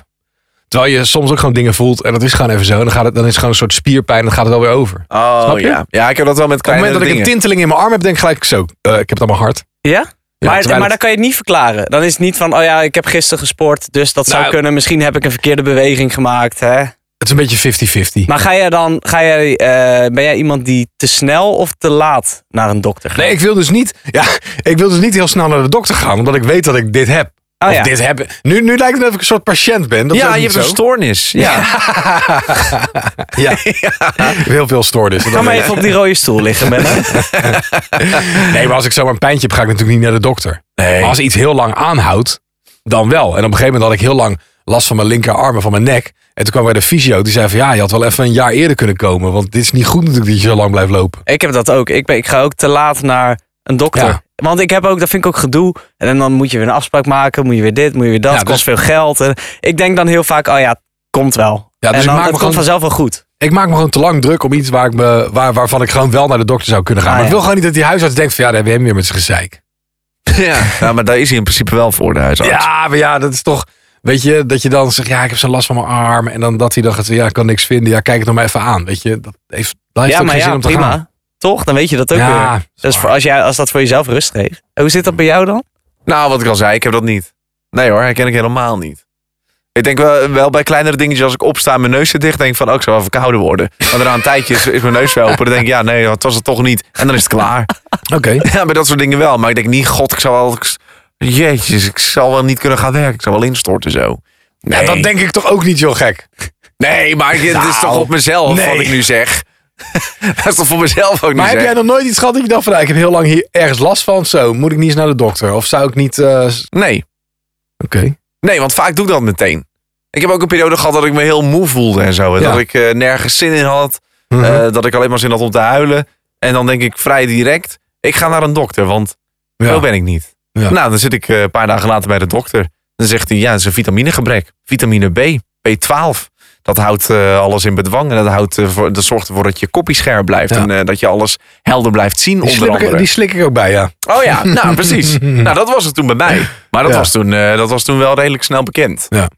Speaker 4: Terwijl je soms ook gewoon dingen voelt en dat is gewoon even zo. En dan, gaat het, dan is het gewoon een soort spierpijn en dan gaat het wel weer over. Op
Speaker 3: Oh
Speaker 4: Snap je?
Speaker 3: ja. Ja, ik heb dat wel met
Speaker 4: het
Speaker 3: kleine
Speaker 4: moment dat ik
Speaker 3: dingen.
Speaker 4: een tinteling in mijn arm heb, denk ik gelijk zo. eh, ik heb het allemaal hard.
Speaker 2: Ja?
Speaker 4: Ja,
Speaker 2: maar,
Speaker 4: terwijl
Speaker 2: maar dan
Speaker 4: het-
Speaker 2: kan je het niet verklaren. Dan is het niet van, oh ja, ik heb gisteren gesport, dus dat zou
Speaker 4: Nou.
Speaker 2: kunnen. Misschien heb ik een verkeerde beweging gemaakt. Hè?
Speaker 4: Het is een beetje 50-50.
Speaker 2: Maar ga jij dan, ga jij, eh, ben jij iemand die te snel of te laat naar een dokter gaat?
Speaker 4: Nee, ik wil dus niet. Ja, ik wil dus niet heel snel naar de dokter gaan, omdat ik weet dat ik dit heb.
Speaker 2: Oh
Speaker 4: of
Speaker 2: ja.
Speaker 4: dit heb. Nu, nu lijkt het alsof ik een soort patiënt ben. Dat is
Speaker 3: Ah, Ja,
Speaker 4: ook
Speaker 3: je
Speaker 4: niet
Speaker 3: hebt een
Speaker 4: zo.
Speaker 3: stoornis. Ja.
Speaker 4: Ja. Heel veel stoornissen.
Speaker 2: Ga
Speaker 4: Dat
Speaker 2: maar
Speaker 4: weet
Speaker 2: even op die rode stoel liggen, Benno.
Speaker 4: ik. Nee, maar als ik zomaar een pijntje heb, ga ik natuurlijk niet naar de dokter.
Speaker 3: Nee.
Speaker 4: Maar als iets heel lang aanhoudt, dan wel. En op een gegeven moment had ik heel lang last van mijn linkerarm en van mijn nek. En toen kwam bij de fysio, die zei van ja, je had wel even een jaar eerder kunnen komen. Want dit is niet goed natuurlijk dat je zo lang blijft lopen.
Speaker 2: Ik heb dat ook. Ik, ben, ik ga ook te laat naar een dokter.
Speaker 4: Ja.
Speaker 2: Want ik heb ook, dat vind ik ook gedoe. En dan moet je weer een afspraak maken, moet je weer dit, moet je weer dat.
Speaker 4: Ja,
Speaker 2: kost
Speaker 4: dus-
Speaker 2: veel geld. En ik denk dan heel vaak, oh ja, het komt wel.
Speaker 4: Ja, dus
Speaker 2: en
Speaker 4: ik
Speaker 2: dan,
Speaker 4: maak
Speaker 2: het komt
Speaker 4: me gewoon-
Speaker 2: vanzelf wel goed.
Speaker 4: Ik maak me gewoon te lang druk om iets waar ik me, waar, waarvan ik gewoon wel naar de dokter zou kunnen gaan.
Speaker 2: Ah,
Speaker 4: Maar ik
Speaker 2: ja.
Speaker 4: wil gewoon niet dat die huisarts denkt van ja, daar hebben we hem weer met zijn gezeik.
Speaker 3: Ja. Ja, Nou, maar daar is hij in principe wel voor, de huisarts.
Speaker 4: Ja, maar ja, dat is toch. Weet je, dat je dan zegt, ja, ik heb zo'n last van mijn arm. En dan dat hij dan gaat zeggen, ja, ik kan niks vinden. Ja, kijk het nog maar even aan. Weet je, dat heeft, dat heeft
Speaker 2: ja,
Speaker 4: ook
Speaker 2: maar
Speaker 4: geen zin
Speaker 2: ja,
Speaker 4: om te gaan.
Speaker 2: prima. Toch? Dan weet je dat ook
Speaker 4: Ja,
Speaker 2: weer.
Speaker 4: is
Speaker 2: Dus
Speaker 4: waar.
Speaker 2: voor, als, jij, als dat voor jezelf rust geeft. En Hoe zit dat bij jou dan?
Speaker 3: Nou, wat ik al zei, ik heb dat niet. Nee hoor, herken ik helemaal niet. Ik denk wel, wel bij kleinere dingetjes, als ik opsta en mijn neus zit dicht, denk ik van, oh, ik zou wel verkouden worden. Maar daarna een tijdje is, is mijn neus wel open. Dan denk ik, ja, nee, het was het toch niet. En dan is het klaar.
Speaker 4: Oké.
Speaker 3: Ja, bij dat soort dingen wel. Maar ik denk niet, god, ik zou wel... ik- Jeetjes, ik zal wel niet kunnen gaan werken. Ik zou wel instorten zo. Nee,
Speaker 4: Ja, dat denk ik toch ook niet zo gek.
Speaker 3: nee maar ik- het is toch
Speaker 4: Nou,
Speaker 3: op mezelf wat
Speaker 4: nee.
Speaker 3: ik nu zeg. dat is toch voor mezelf ook niet
Speaker 4: Maar heb
Speaker 3: zeg.
Speaker 4: jij nog nooit iets gehad dat je dacht van, nou, ik heb heel lang hier ergens last van. Zo, moet ik niet eens naar de dokter? Of zou ik niet... eh, s-
Speaker 3: Nee.
Speaker 4: Oké.
Speaker 3: Nee, want vaak doe ik dat meteen. Ik heb ook een periode gehad dat ik me heel moe voelde en zo. En
Speaker 4: Ja.
Speaker 3: Dat ik eh, nergens zin in had.
Speaker 4: Mhm.
Speaker 3: Eh, dat ik alleen maar zin had om te huilen. En dan denk ik vrij direct, ik ga naar een dokter, want
Speaker 4: Ja.
Speaker 3: zo ben ik niet.
Speaker 4: Ja.
Speaker 3: Nou, dan zit ik eh, een paar dagen later bij de dokter. Dan zegt hij, ja, het is een vitaminegebrek. Vitamine B, B12. Dat houdt eh, alles in bedwang. En dat, houdt, eh, voor, dat zorgt ervoor dat je koppie scherp blijft.
Speaker 4: Ja.
Speaker 3: En eh, dat je alles helder blijft zien,
Speaker 4: die,
Speaker 3: onder
Speaker 4: slik ik,
Speaker 3: andere.
Speaker 4: die slik ik ook bij, ja.
Speaker 3: Oh ja, nou precies. nou, dat was het toen bij mij. Maar dat,
Speaker 4: Ja.
Speaker 3: was, toen, eh, dat was toen wel redelijk snel bekend.
Speaker 4: Ja.
Speaker 3: Maar,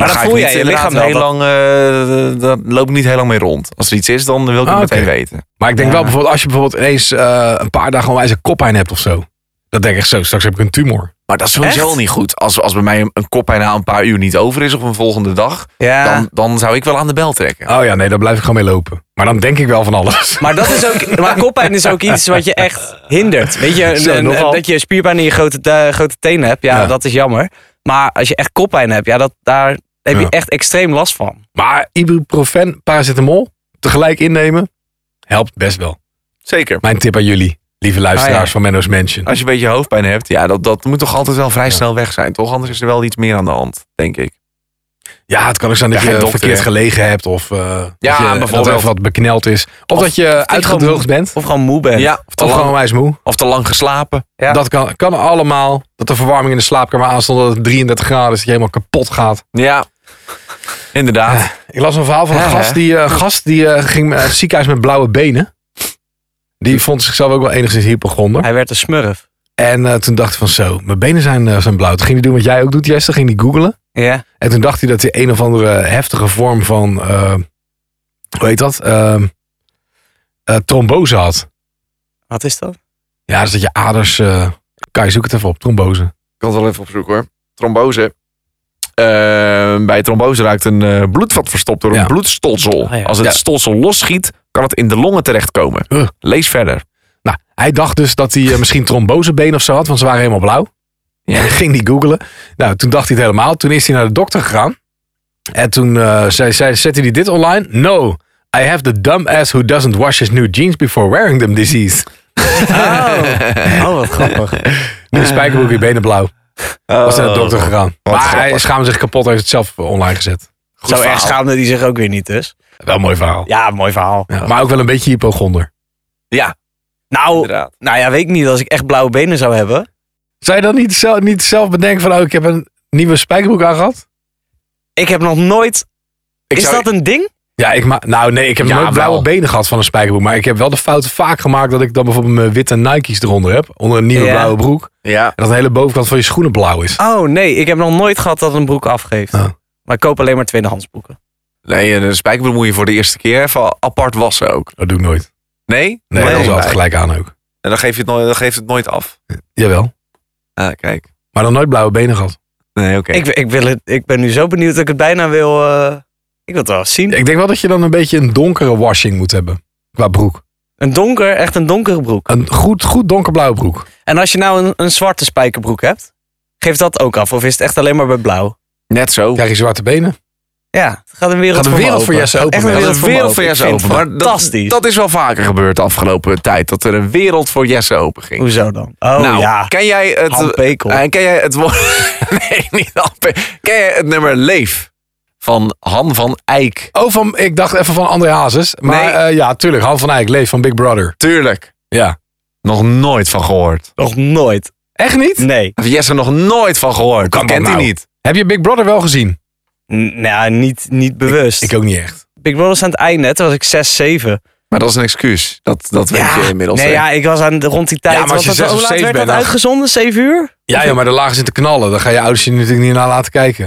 Speaker 2: Maar
Speaker 3: dan
Speaker 2: dat
Speaker 3: ga ik
Speaker 2: voel
Speaker 3: niet
Speaker 2: jij je
Speaker 3: inderdaad
Speaker 2: lichaam
Speaker 3: heel
Speaker 2: wel,
Speaker 3: lang, eh, dat loop ik niet heel lang mee rond. Als er iets is, dan wil ik het
Speaker 4: Ah,
Speaker 3: meteen
Speaker 4: oké.
Speaker 3: weten.
Speaker 4: Maar ik denk wel bijvoorbeeld, als je bijvoorbeeld ineens eh, een paar dagen onwijs een koppijn hebt of zo. Dan denk ik zo, straks heb ik een tumor.
Speaker 3: Maar dat is sowieso
Speaker 2: Echt?
Speaker 3: niet goed. Als, als bij mij een, een koppijn na een paar uur niet over is of een volgende dag,
Speaker 2: Ja.
Speaker 3: dan, dan zou ik wel aan de bel trekken.
Speaker 4: Oh ja, nee, daar blijf ik gewoon mee lopen. Maar dan denk ik wel van alles.
Speaker 2: Maar, dat is ook, maar koppijn is ook iets wat je echt hindert. Weet je,
Speaker 4: Zo,
Speaker 2: een- een-
Speaker 4: nogal.
Speaker 2: dat je spierpijn in je grote, eh, grote tenen hebt, ja,
Speaker 4: Ja.
Speaker 2: dat is jammer. Maar als je echt koppijn hebt, ja, dat, daar heb je
Speaker 4: Ja.
Speaker 2: echt extreem last van.
Speaker 4: Maar ibuprofen, paracetamol, tegelijk innemen, helpt best wel.
Speaker 3: Zeker.
Speaker 4: Mijn tip aan jullie, lieve luisteraars
Speaker 2: Ah, ja.
Speaker 4: van Menno's Mansion.
Speaker 3: Als je een beetje hoofdpijn hebt, ja, dat, dat moet toch altijd wel vrij snel weg zijn, toch? Anders is er wel iets meer aan de hand, denk ik.
Speaker 4: Ja, het kan ook zijn dat
Speaker 3: Ja,
Speaker 4: je
Speaker 3: geen dokter,
Speaker 4: verkeerd
Speaker 3: hè?
Speaker 4: gelegen hebt of eh,
Speaker 3: Ja,
Speaker 4: dat, je, dat
Speaker 3: bijvoorbeeld.
Speaker 4: er even wat bekneld is. Of, dat je uitgedroogd bent.
Speaker 2: Of gewoon moe bent.
Speaker 3: Ja, of te,
Speaker 4: Of
Speaker 3: lang,
Speaker 4: gewoon wijs moe.
Speaker 3: of te lang geslapen.
Speaker 2: Ja.
Speaker 4: Dat kan, kan allemaal. Dat de verwarming in de slaapkamer aanstond dat het 33 graden is. Dat je helemaal kapot gaat.
Speaker 3: Ja, inderdaad.
Speaker 4: Ik las een verhaal van een
Speaker 3: Ja, hè?
Speaker 4: gast die, eh, gast die eh, ging naar het ziekenhuis met blauwe benen. Die vond zichzelf ook wel enigszins hypochonder.
Speaker 2: Hij werd een smurf.
Speaker 4: En eh, toen dacht hij van zo, mijn benen zijn, eh, zijn blauw. Toen ging hij doen wat jij ook doet, Jester. Ging hij googlen.
Speaker 2: Ja.
Speaker 4: En toen dacht hij dat hij een of andere heftige vorm van, eh, hoe heet dat? Ehm, eh, trombose had.
Speaker 2: Wat is dat?
Speaker 4: Ja, dus dat je aders, eh, kan je zoek het even op, trombose.
Speaker 3: Ik kan het wel even opzoeken hoor. Trombose. Eh, bij trombose raakt een eh, bloedvat verstopt door een
Speaker 4: Ja.
Speaker 3: bloedstolsel.
Speaker 2: Oh ja.
Speaker 3: Als het
Speaker 4: Ja.
Speaker 3: stolsel losschiet, kan het in de longen terechtkomen.
Speaker 4: Ugh.
Speaker 3: Lees verder.
Speaker 4: Nou, hij dacht dus dat hij eh, misschien trombosebeen of zo had, want ze waren helemaal blauw.
Speaker 3: Ja.
Speaker 4: ging hij googlen. Nou, toen dacht hij het helemaal. Toen is hij naar de dokter gegaan. En toen eh, zei, zei, zette hij dit online. No, I have the dumb ass who doesn't wash his new jeans before wearing them disease.
Speaker 2: Oh, wat grappig.
Speaker 4: Nu
Speaker 3: Ah.
Speaker 4: spijkerbroek, je benen blauw. Was naar de dokter gegaan. Maar hij
Speaker 3: Oh. grappig.
Speaker 4: schaamde zich kapot, heeft het zelf online gezet.
Speaker 2: Zo erg schaamde die zich ook weer niet dus.
Speaker 4: Wel een mooi verhaal.
Speaker 2: Ja, mooi verhaal.
Speaker 4: Ja, Maar ook wel een beetje hypochonder.
Speaker 3: Ja,
Speaker 2: Nou,
Speaker 3: inderdaad.
Speaker 2: nou ja, weet ik niet. Als ik echt blauwe benen zou hebben.
Speaker 4: Zou je dan niet zelf, niet zelf bedenken van, oh, ik heb een nieuwe spijkerbroek aangehad?
Speaker 2: Ik heb nog nooit...
Speaker 3: Ik
Speaker 2: is
Speaker 3: zou-
Speaker 2: dat een ding?
Speaker 4: Ja, ik ma- nou nee, ik heb
Speaker 3: Ja,
Speaker 4: nooit blauwe
Speaker 3: wel.
Speaker 4: benen gehad van een spijkerbroek. Maar ik heb wel de fout vaak gemaakt dat ik dan bijvoorbeeld mijn witte Nike's eronder heb. Onder een nieuwe
Speaker 2: Ja.
Speaker 4: blauwe broek.
Speaker 3: Ja.
Speaker 4: En dat de hele bovenkant van je schoenen blauw is.
Speaker 2: Oh nee, ik heb nog nooit gehad dat een broek afgeeft.
Speaker 4: Oh.
Speaker 2: Maar ik koop alleen maar tweedehands broeken.
Speaker 3: Nee, een spijkerbroek moet je voor de eerste keer even apart wassen ook.
Speaker 4: Dat doe ik nooit.
Speaker 3: Nee?
Speaker 4: Nee, dat is
Speaker 3: bij.
Speaker 4: altijd gelijk aan ook.
Speaker 3: En dan geef je het nooit, dan geeft het nooit af.
Speaker 4: Jawel.
Speaker 3: Ah, kijk.
Speaker 4: Maar dan nooit blauwe benen gehad.
Speaker 3: Nee, oké.
Speaker 2: Ik, ik, wil het, ik ben nu zo benieuwd dat ik het bijna wil... eh, ik wil het wel eens zien.
Speaker 4: Ik denk wel dat je dan een beetje een donkere washing moet hebben. Qua broek.
Speaker 2: Een donker, echt een donkere broek.
Speaker 4: Een goed, goed donkerblauwe broek.
Speaker 2: En als je nou een, een zwarte spijkerbroek hebt, geeft dat ook af? Of is het echt alleen maar bij blauw?
Speaker 3: Net zo.
Speaker 4: Krijg je zwarte benen.
Speaker 2: Ja, het gaat een wereld
Speaker 4: Gaat een
Speaker 2: voor me
Speaker 4: wereld voor
Speaker 2: open.
Speaker 4: Jesse open,
Speaker 2: Echt een
Speaker 4: man.
Speaker 3: Dat
Speaker 2: wereld
Speaker 3: is een
Speaker 2: voor me
Speaker 3: wereld voor
Speaker 2: open.
Speaker 3: Jesse
Speaker 2: Ik vind het
Speaker 3: open. Maar dat-
Speaker 2: Fantastisch.
Speaker 3: Dat, is wel vaker gebeurd de afgelopen tijd. Dat er een wereld voor Jesse open ging.
Speaker 2: Hoezo dan? Oh
Speaker 3: nou,
Speaker 2: ja,
Speaker 3: ken jij het...
Speaker 2: Han Pekel.
Speaker 3: eh, ken jij het woord... nee, niet Han Pekel. Ken jij het nummer Leef? Van Han van Eyck.
Speaker 4: Oh, van, ik dacht even van André Hazes. Maar
Speaker 3: Nee.
Speaker 4: eh, ja, tuurlijk. Han van Eyck, Leef van Big Brother.
Speaker 3: Tuurlijk.
Speaker 4: Ja.
Speaker 3: Nog nooit van gehoord.
Speaker 2: nog nooit.
Speaker 4: Echt niet?
Speaker 2: Nee,
Speaker 3: Heeft Jesse nog nooit van gehoord.
Speaker 4: kan
Speaker 3: Dat kent
Speaker 4: dat
Speaker 3: hij
Speaker 4: nou?
Speaker 3: niet.
Speaker 4: Heb je Big Brother wel gezien?
Speaker 2: N- nou, niet, niet bewust.
Speaker 4: Ik ook niet echt.
Speaker 2: Big Brother is aan het einde, hè. toen was ik 6, 7.
Speaker 3: Maar dat is een excuus. Dat, dat weet je inmiddels.
Speaker 2: Nee,
Speaker 3: hè?
Speaker 2: ja, ik was aan de, rond die tijd.
Speaker 3: Ja, maar als je
Speaker 2: was dat-
Speaker 3: zes
Speaker 2: hoe
Speaker 3: of
Speaker 2: laat
Speaker 3: zeven
Speaker 2: werd dat
Speaker 3: bent, dan-
Speaker 2: uitgezonden? 7 uur?
Speaker 4: Ja, joh, maar daar lagen ze te knallen. Daar ga je ouders je natuurlijk niet naar laten kijken.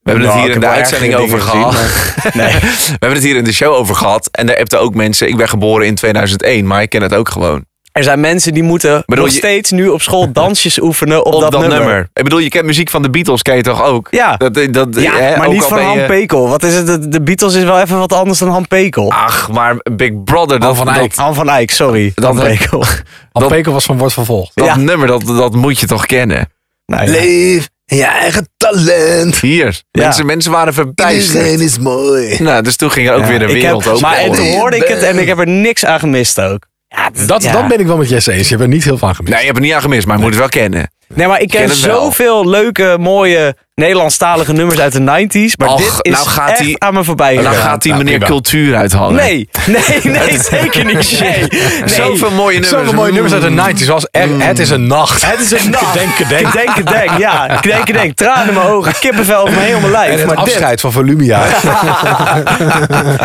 Speaker 3: We hebben
Speaker 2: Nou,
Speaker 3: het hier
Speaker 2: ik
Speaker 3: in
Speaker 2: heb
Speaker 3: de
Speaker 2: wel
Speaker 3: uitzending
Speaker 2: ergere
Speaker 3: over
Speaker 2: dingen
Speaker 3: gehad.
Speaker 2: Nee.
Speaker 3: We hebben het hier in de show over gehad. En daar appten ook mensen. Ik ben geboren in 2001, maar ik ken het ook gewoon.
Speaker 2: Er zijn mensen die moeten
Speaker 3: Bedoel
Speaker 2: nog
Speaker 3: je-
Speaker 2: steeds nu op school dansjes oefenen op, dat, nummer.
Speaker 3: Ik bedoel, je kent muziek van de Beatles, ken je toch ook?
Speaker 2: Ja.
Speaker 3: Dat, dat,
Speaker 2: Ja,
Speaker 3: hè,
Speaker 2: maar
Speaker 3: ook
Speaker 2: niet
Speaker 3: al
Speaker 2: van
Speaker 3: ben
Speaker 2: Han
Speaker 3: je-
Speaker 2: Pekel. Wat is het? De, de Beatles is wel even wat anders dan Han Pekel.
Speaker 3: Ach, maar Big Brother, dat,
Speaker 4: van Eyck.
Speaker 3: dat,
Speaker 2: Han Oh, van Eyck, sorry.
Speaker 3: Dat-
Speaker 2: Han Pekel.
Speaker 4: Han
Speaker 3: Dat-
Speaker 4: Pekel was van Wordt Vervolgd.
Speaker 3: dat
Speaker 2: Ja.
Speaker 3: nummer, dat, dat moet je toch kennen?
Speaker 2: Nou ja.
Speaker 4: Leef in je eigen talent.
Speaker 3: Hier. Mensen, mensen waren verbijsterd.
Speaker 4: is mooi.
Speaker 3: Nou, dus toen ging er ook
Speaker 2: Ja,
Speaker 3: weer een
Speaker 2: ik
Speaker 3: wereld
Speaker 2: heb,
Speaker 3: open.
Speaker 2: Maar en
Speaker 3: Oh,
Speaker 2: toen
Speaker 3: nee.
Speaker 2: hoorde ik het en ik heb er niks aan gemist ook. Ja, dat-
Speaker 4: Dat,
Speaker 2: ja.
Speaker 4: dat ben ik wel met Jesse eens. Je hebt er niet heel van gemist.
Speaker 3: Nee, je hebt het niet aan gemist, maar je moet het wel kennen.
Speaker 2: Nee, maar ik ken,
Speaker 3: ken het wel.
Speaker 2: zoveel leuke, mooie Nederlandstalige nummers uit de 90s. Maar
Speaker 3: Och,
Speaker 2: dit is
Speaker 3: nou gaat
Speaker 2: echt
Speaker 3: die-
Speaker 2: aan me voorbij
Speaker 3: En dan
Speaker 2: gegaan.
Speaker 3: gaat die
Speaker 4: nou,
Speaker 3: meneer
Speaker 4: prima.
Speaker 3: cultuur uithangen.
Speaker 2: Nee, nee, nee, zeker niet. Nee, nee.
Speaker 3: Zoveel mooie nummers. Mm.
Speaker 4: Zoveel mooie nummers uit de 90s was er, Het is een nacht.
Speaker 2: Het is een nacht.
Speaker 4: Denken, denken.
Speaker 2: Ik denk, ik denk, ja. Ik denk, ik denk. Tranen in mijn ogen, kippenvel over mijn hele
Speaker 4: En
Speaker 2: lijf.
Speaker 4: het
Speaker 2: Maar dit,
Speaker 4: afscheid van Volumia.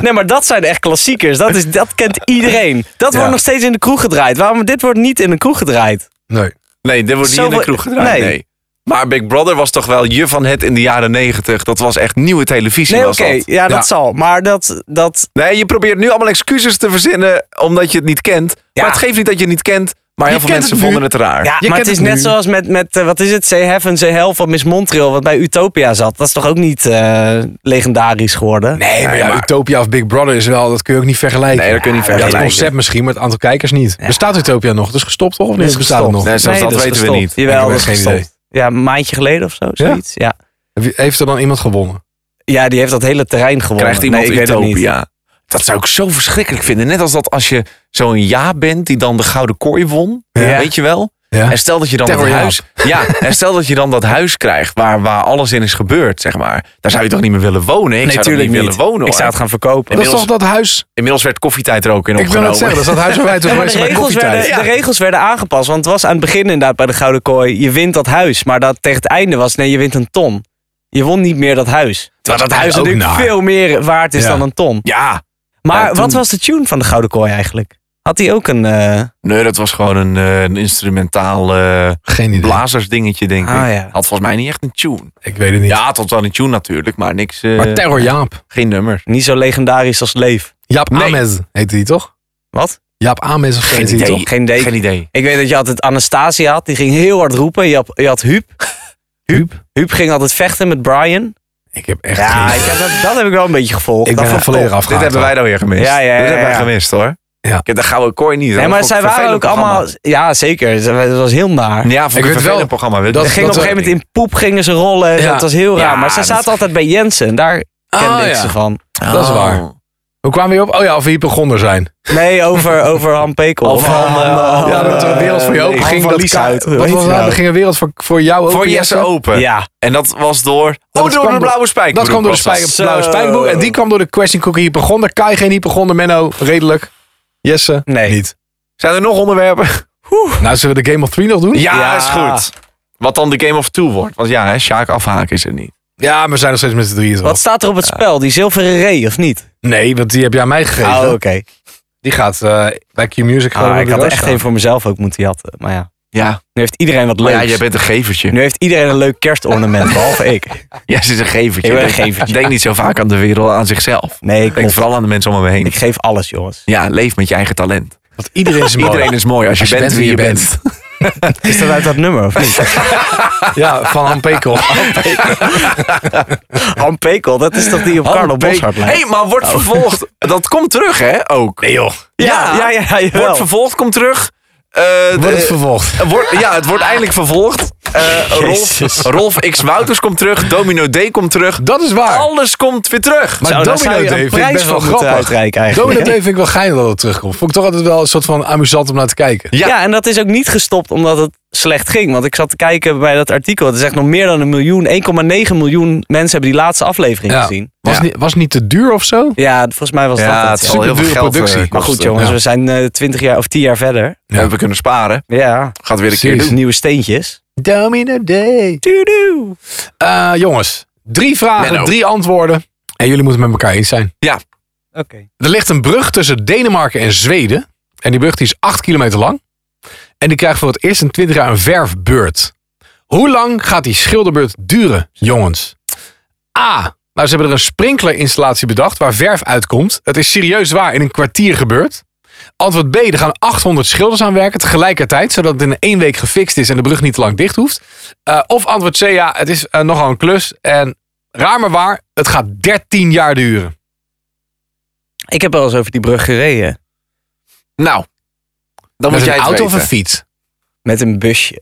Speaker 2: nee, maar dat zijn echt klassiekers. Dat, is, dat kent iedereen. Dat wordt nog steeds in de kroeg gedraaid. Waarom dit wordt niet in de kroeg gedraaid?
Speaker 4: Nee.
Speaker 3: Nee, dit wordt niet in de
Speaker 2: Zoveel-
Speaker 3: kroeg gedraaid. Nee.
Speaker 2: nee.
Speaker 3: Maar Big Brother was toch wel je van het in de jaren negentig. Dat was echt nieuwe televisie.
Speaker 2: Nee,
Speaker 3: was
Speaker 2: oké.
Speaker 3: dat.
Speaker 2: Ja, dat
Speaker 4: Ja.
Speaker 2: zal. Maar dat, dat,
Speaker 3: Nee, je probeert nu allemaal excuses te verzinnen omdat je het niet kent. Maar het geeft niet dat je het niet kent. Maar heel
Speaker 4: Je
Speaker 3: veel
Speaker 4: kent
Speaker 3: mensen
Speaker 4: het nu.
Speaker 3: vonden het raar.
Speaker 2: Ja,
Speaker 4: Je
Speaker 2: maar
Speaker 4: kent
Speaker 2: het is
Speaker 4: het
Speaker 2: net
Speaker 4: nu.
Speaker 2: zoals met, met eh, wat is het, Say Heaven, Say Hell van Miss Montreal, wat bij Utopia zat. Dat is toch ook niet eh, legendarisch geworden?
Speaker 4: Nee, maar ja, Utopia of Big Brother is wel, dat kun je ook niet vergelijken.
Speaker 3: Nee, dat kun je niet
Speaker 4: Ja, het
Speaker 3: vergelijken.
Speaker 4: concept misschien, maar het aantal kijkers niet. Bestaat Utopia nog? Dus gestopt toch? Of niet?
Speaker 2: is
Speaker 4: Bestaat het nog?
Speaker 2: gestopt.
Speaker 3: Nee, zelfs dat
Speaker 2: is
Speaker 3: weten we
Speaker 2: gestopt.
Speaker 3: niet.
Speaker 4: Ik
Speaker 2: Jawel,
Speaker 4: heb
Speaker 2: dat
Speaker 4: echt
Speaker 2: is
Speaker 4: geen
Speaker 2: gestopt.
Speaker 4: idee.
Speaker 2: Ja, een maandje geleden of zo, zoiets. Ja?
Speaker 4: Wie- Heeft er dan iemand gewonnen?
Speaker 2: Ja. die heeft dat hele terrein gewonnen.
Speaker 3: Krijgt iemand
Speaker 2: nee, ik weet het niet.
Speaker 3: Utopia. Dat zou ik zo verschrikkelijk vinden. Net als dat als je zo'n ja bent die dan de gouden kooi won.
Speaker 4: Ja.
Speaker 3: Weet je wel?
Speaker 4: Ja.
Speaker 3: En stel dat je dan dat
Speaker 4: Terror Jaap.
Speaker 3: huis. Ja, en stel dat je dan dat huis krijgt waar, waar alles in is gebeurd, zeg maar. Daar zou je toch niet meer willen wonen? Ik
Speaker 2: Nee,
Speaker 3: zou toch
Speaker 2: natuurlijk
Speaker 3: niet
Speaker 2: niet.
Speaker 3: willen wonen.
Speaker 2: ik zou
Speaker 3: hoor.
Speaker 2: het gaan verkopen.
Speaker 4: Dat is toch
Speaker 3: Inmiddels-
Speaker 4: dat huis?
Speaker 3: Inmiddels werd koffietijd er ook in
Speaker 4: Ik wil
Speaker 3: opgenomen.
Speaker 4: het zeggen, dat is dat huis waar wij toen
Speaker 2: Ja, maar de
Speaker 4: geweest zijn bij
Speaker 2: regels,
Speaker 4: koffietijd.
Speaker 2: werden, de regels werden aangepast. Want het was aan het begin inderdaad bij de Gouden Kooi. Je wint dat huis. Maar dat tegen het einde was, nee, je wint een ton. Je won niet meer dat huis. Terwijl dat huis
Speaker 4: ook
Speaker 2: natuurlijk
Speaker 4: naar.
Speaker 2: veel meer waard is
Speaker 4: Ja.
Speaker 2: dan een ton.
Speaker 3: Ja.
Speaker 2: Maar
Speaker 3: Ja,
Speaker 2: wat
Speaker 3: toen-
Speaker 2: was de tune van de Gouden Kooi eigenlijk? Had hij ook een... eh,
Speaker 3: Nee, dat was gewoon een, eh, een instrumentaal eh
Speaker 4: Geen idee.
Speaker 3: blazersdingetje, denk ik.
Speaker 2: Ah, ja.
Speaker 3: Had volgens mij niet echt een tune.
Speaker 4: Ik weet het niet.
Speaker 3: Ja, het had wel een tune natuurlijk, maar niks. eh,
Speaker 4: Maar Terror Jaap.
Speaker 3: geen nummer.
Speaker 2: Niet zo legendarisch als Leef.
Speaker 4: Jaap
Speaker 3: Nee.
Speaker 4: Ames heette die toch?
Speaker 2: Wat?
Speaker 4: Jaap Ames of zo heette die
Speaker 3: idee.
Speaker 4: toch?
Speaker 2: Geen idee.
Speaker 3: Geen idee.
Speaker 2: Ik weet dat je altijd Anastasia had. Die ging heel hard roepen. Je had, je had Huub.
Speaker 4: Huub?
Speaker 2: Huub ging altijd vechten met Brian.
Speaker 4: Ik heb echt geen
Speaker 2: Ja, ik heb dat, dat heb ik wel een beetje gevolgd.
Speaker 4: Ik
Speaker 2: dat
Speaker 4: ben
Speaker 2: vond
Speaker 4: er
Speaker 2: ik
Speaker 4: volledig
Speaker 2: tof.
Speaker 4: afgehaald.
Speaker 3: Dit hebben wij dan weer gemist.
Speaker 2: Ja, ja, ja,
Speaker 3: Dit hebben wij
Speaker 2: ja.
Speaker 3: gemist hoor.
Speaker 4: Ja.
Speaker 3: Ik heb de gouden kooi niet.
Speaker 2: Nee,
Speaker 3: Dat
Speaker 2: maar
Speaker 3: vond
Speaker 2: zij
Speaker 3: ik een
Speaker 2: waren ook
Speaker 3: vervelend
Speaker 2: allemaal...
Speaker 3: programma.
Speaker 2: Ja, zeker. Ze- Het was heel naar.
Speaker 3: Ja, vond
Speaker 4: Ik
Speaker 3: ik, een
Speaker 4: weet
Speaker 3: vervelend
Speaker 4: wel-
Speaker 3: programma.
Speaker 4: dat-
Speaker 2: Er ging op een
Speaker 4: dat-
Speaker 2: gegeven moment in poep gingen ze rollen.
Speaker 4: Ja.
Speaker 2: dat was heel raar.
Speaker 3: Ja,
Speaker 2: maar ze
Speaker 3: dat-
Speaker 2: zaten altijd bij Jensen. Daar Kende
Speaker 4: Ah,
Speaker 2: ik
Speaker 4: ja.
Speaker 2: ze van.
Speaker 4: Dat is waar. Hoe kwamen we hier op? Oh ja, of we hypochonder zijn.
Speaker 2: Nee, over, over Han Pekel.
Speaker 3: Of Han, eh,
Speaker 4: ja, dat er een wereld voor je open
Speaker 2: nee,
Speaker 4: ging.
Speaker 2: van
Speaker 4: dat
Speaker 2: Lies
Speaker 4: ka-
Speaker 2: uit. Hoe
Speaker 4: Wat
Speaker 2: heet
Speaker 4: was
Speaker 2: die
Speaker 4: dat?
Speaker 2: nou?
Speaker 4: Er ging een wereld voor, voor jou open.
Speaker 3: Voor Jesse Open.
Speaker 2: Ja.
Speaker 3: En dat was door...
Speaker 4: dat
Speaker 3: oh, door
Speaker 4: kwam-
Speaker 3: de blauwe spijker.
Speaker 4: Dat kwam door de spijker,
Speaker 2: Zo.
Speaker 4: blauwe spijkerboek. En die kwam door de question cookie hypochonder. Kai geen hypochonder, Menno. Redelijk. Jesse.
Speaker 2: Nee.
Speaker 4: Niet.
Speaker 3: Zijn er nog onderwerpen?
Speaker 4: Nou, zullen we de Game of Three nog doen?
Speaker 3: Ja, is goed. Wat dan de Game of Two wordt. Want ja, hè, Sjaak afhaken is er niet.
Speaker 4: Ja, maar we zijn nog steeds met z'n drieën. toch?
Speaker 2: Wat staat er op het spel? Die zilveren ree, of niet?
Speaker 4: Nee, want die heb jij aan mij gegeven.
Speaker 2: Oh, oké.
Speaker 4: Die gaat eh, bij Q-Music.
Speaker 2: Ah, ik had er echt één voor mezelf ook moeten jatten. Maar ja,
Speaker 3: Ja.
Speaker 2: nu heeft iedereen wat
Speaker 3: Maar
Speaker 2: leuks.
Speaker 3: Oh ja, jij bent een gevertje.
Speaker 2: Nu heeft iedereen een leuk kerstornament, behalve ik.
Speaker 3: Jij is een gevertje.
Speaker 2: Ik ben een gevertje.
Speaker 3: Denk niet zo vaak aan de wereld, aan zichzelf.
Speaker 2: Nee, ik,
Speaker 3: Denk
Speaker 2: moet-
Speaker 3: vooral aan de mensen om me heen.
Speaker 2: ik geef alles, jongens.
Speaker 3: Ja, leef met je eigen talent.
Speaker 4: Want iedereen is mooi.
Speaker 3: Iedereen is mooi als je, bent, wie je bent.
Speaker 2: Is dat uit dat nummer, of niet?
Speaker 4: Ja, van Han Pekel.
Speaker 2: Han Pekel, dat is toch die op Carlo Boshart
Speaker 3: Hé, Oh, hey, maar wordt vervolgd. Nou. Dat komt terug, hè? Ook. Nee, joh.
Speaker 2: Ja, ja, ja, ja, jawel.
Speaker 3: Wordt vervolgd, komt terug. Eh, de- eh,
Speaker 4: Wordt het vervolgd.
Speaker 3: Wordt- ja, het wordt eindelijk vervolgd. Eh, Rolf,
Speaker 2: Jezus.
Speaker 3: Rolf X. Wouters komt terug. Domino D komt terug.
Speaker 4: Dat is waar.
Speaker 3: Alles komt weer terug.
Speaker 4: Maar
Speaker 2: Zou, daar
Speaker 4: Domino
Speaker 2: zou je
Speaker 4: Day
Speaker 2: een
Speaker 4: vind ik
Speaker 2: prijs
Speaker 4: best wel
Speaker 2: voor moeten
Speaker 4: grappig.
Speaker 2: uitreiken eigenlijk.
Speaker 4: Domino Day vind ik wel geinig dat het terugkomt. Vond ik toch altijd wel een soort van amusant om naar te kijken.
Speaker 2: Ja.
Speaker 3: Ja.
Speaker 2: en dat is ook niet gestopt omdat het slecht ging. Want ik zat te kijken bij dat artikel. Het is echt nog meer dan een miljoen. 1,9 miljoen mensen hebben die laatste aflevering
Speaker 4: Ja.
Speaker 2: gezien.
Speaker 4: Was,
Speaker 3: Ja.
Speaker 4: Niet, was niet te duur of zo?
Speaker 2: Ja, volgens mij was dat het. ja.
Speaker 4: zal heel veel geld, eh,
Speaker 2: Maar goed jongens,
Speaker 4: Ja.
Speaker 2: we zijn eh, 20 jaar of 10 jaar verder.
Speaker 4: Ja.
Speaker 3: We kunnen sparen.
Speaker 2: Ja,
Speaker 3: Gaat weer een keer
Speaker 4: Precies.
Speaker 3: doen.
Speaker 2: nieuwe steentjes.
Speaker 4: Domino Day.
Speaker 2: Tudu.
Speaker 4: Eh, jongens, drie vragen,
Speaker 3: Menno.
Speaker 4: drie antwoorden. En jullie moeten het met elkaar eens zijn.
Speaker 3: Ja.
Speaker 2: Oké.
Speaker 4: Er ligt een brug tussen Denemarken en Zweden. En die brug die is 8 kilometer lang. En die krijgt voor het eerst in 20 jaar een verfbeurt. Hoe lang gaat die schilderbeurt duren, jongens? A. Nou, ze hebben er een sprinklerinstallatie bedacht waar verf uitkomt. Het is serieus waar in een kwartier gebeurd. Antwoord B. Er gaan 800 schilders aan werken tegelijkertijd, zodat het in één week gefixt is en de brug niet te lang dicht hoeft. Eh, of antwoord C. Ja, het is eh, nogal een klus. En raar maar waar, het gaat 13 jaar duren.
Speaker 2: Ik heb wel eens over die brug gereden.
Speaker 3: Nou, dan moet
Speaker 4: Met
Speaker 3: jij
Speaker 4: een
Speaker 3: het
Speaker 4: auto of
Speaker 3: weten.
Speaker 4: een fiets?
Speaker 2: Met een busje.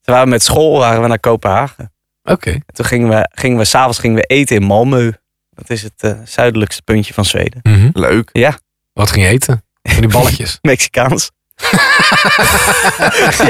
Speaker 2: Toen waren we met school waren we naar Kopenhagen.
Speaker 4: Oké.
Speaker 2: En toen gingen we, gingen we s'avonds gingen we eten in Malmö. Dat is het eh, zuidelijkste puntje van Zweden.
Speaker 3: Leuk.
Speaker 4: Wat ging je eten? Van die balletjes.
Speaker 2: Mexicaans.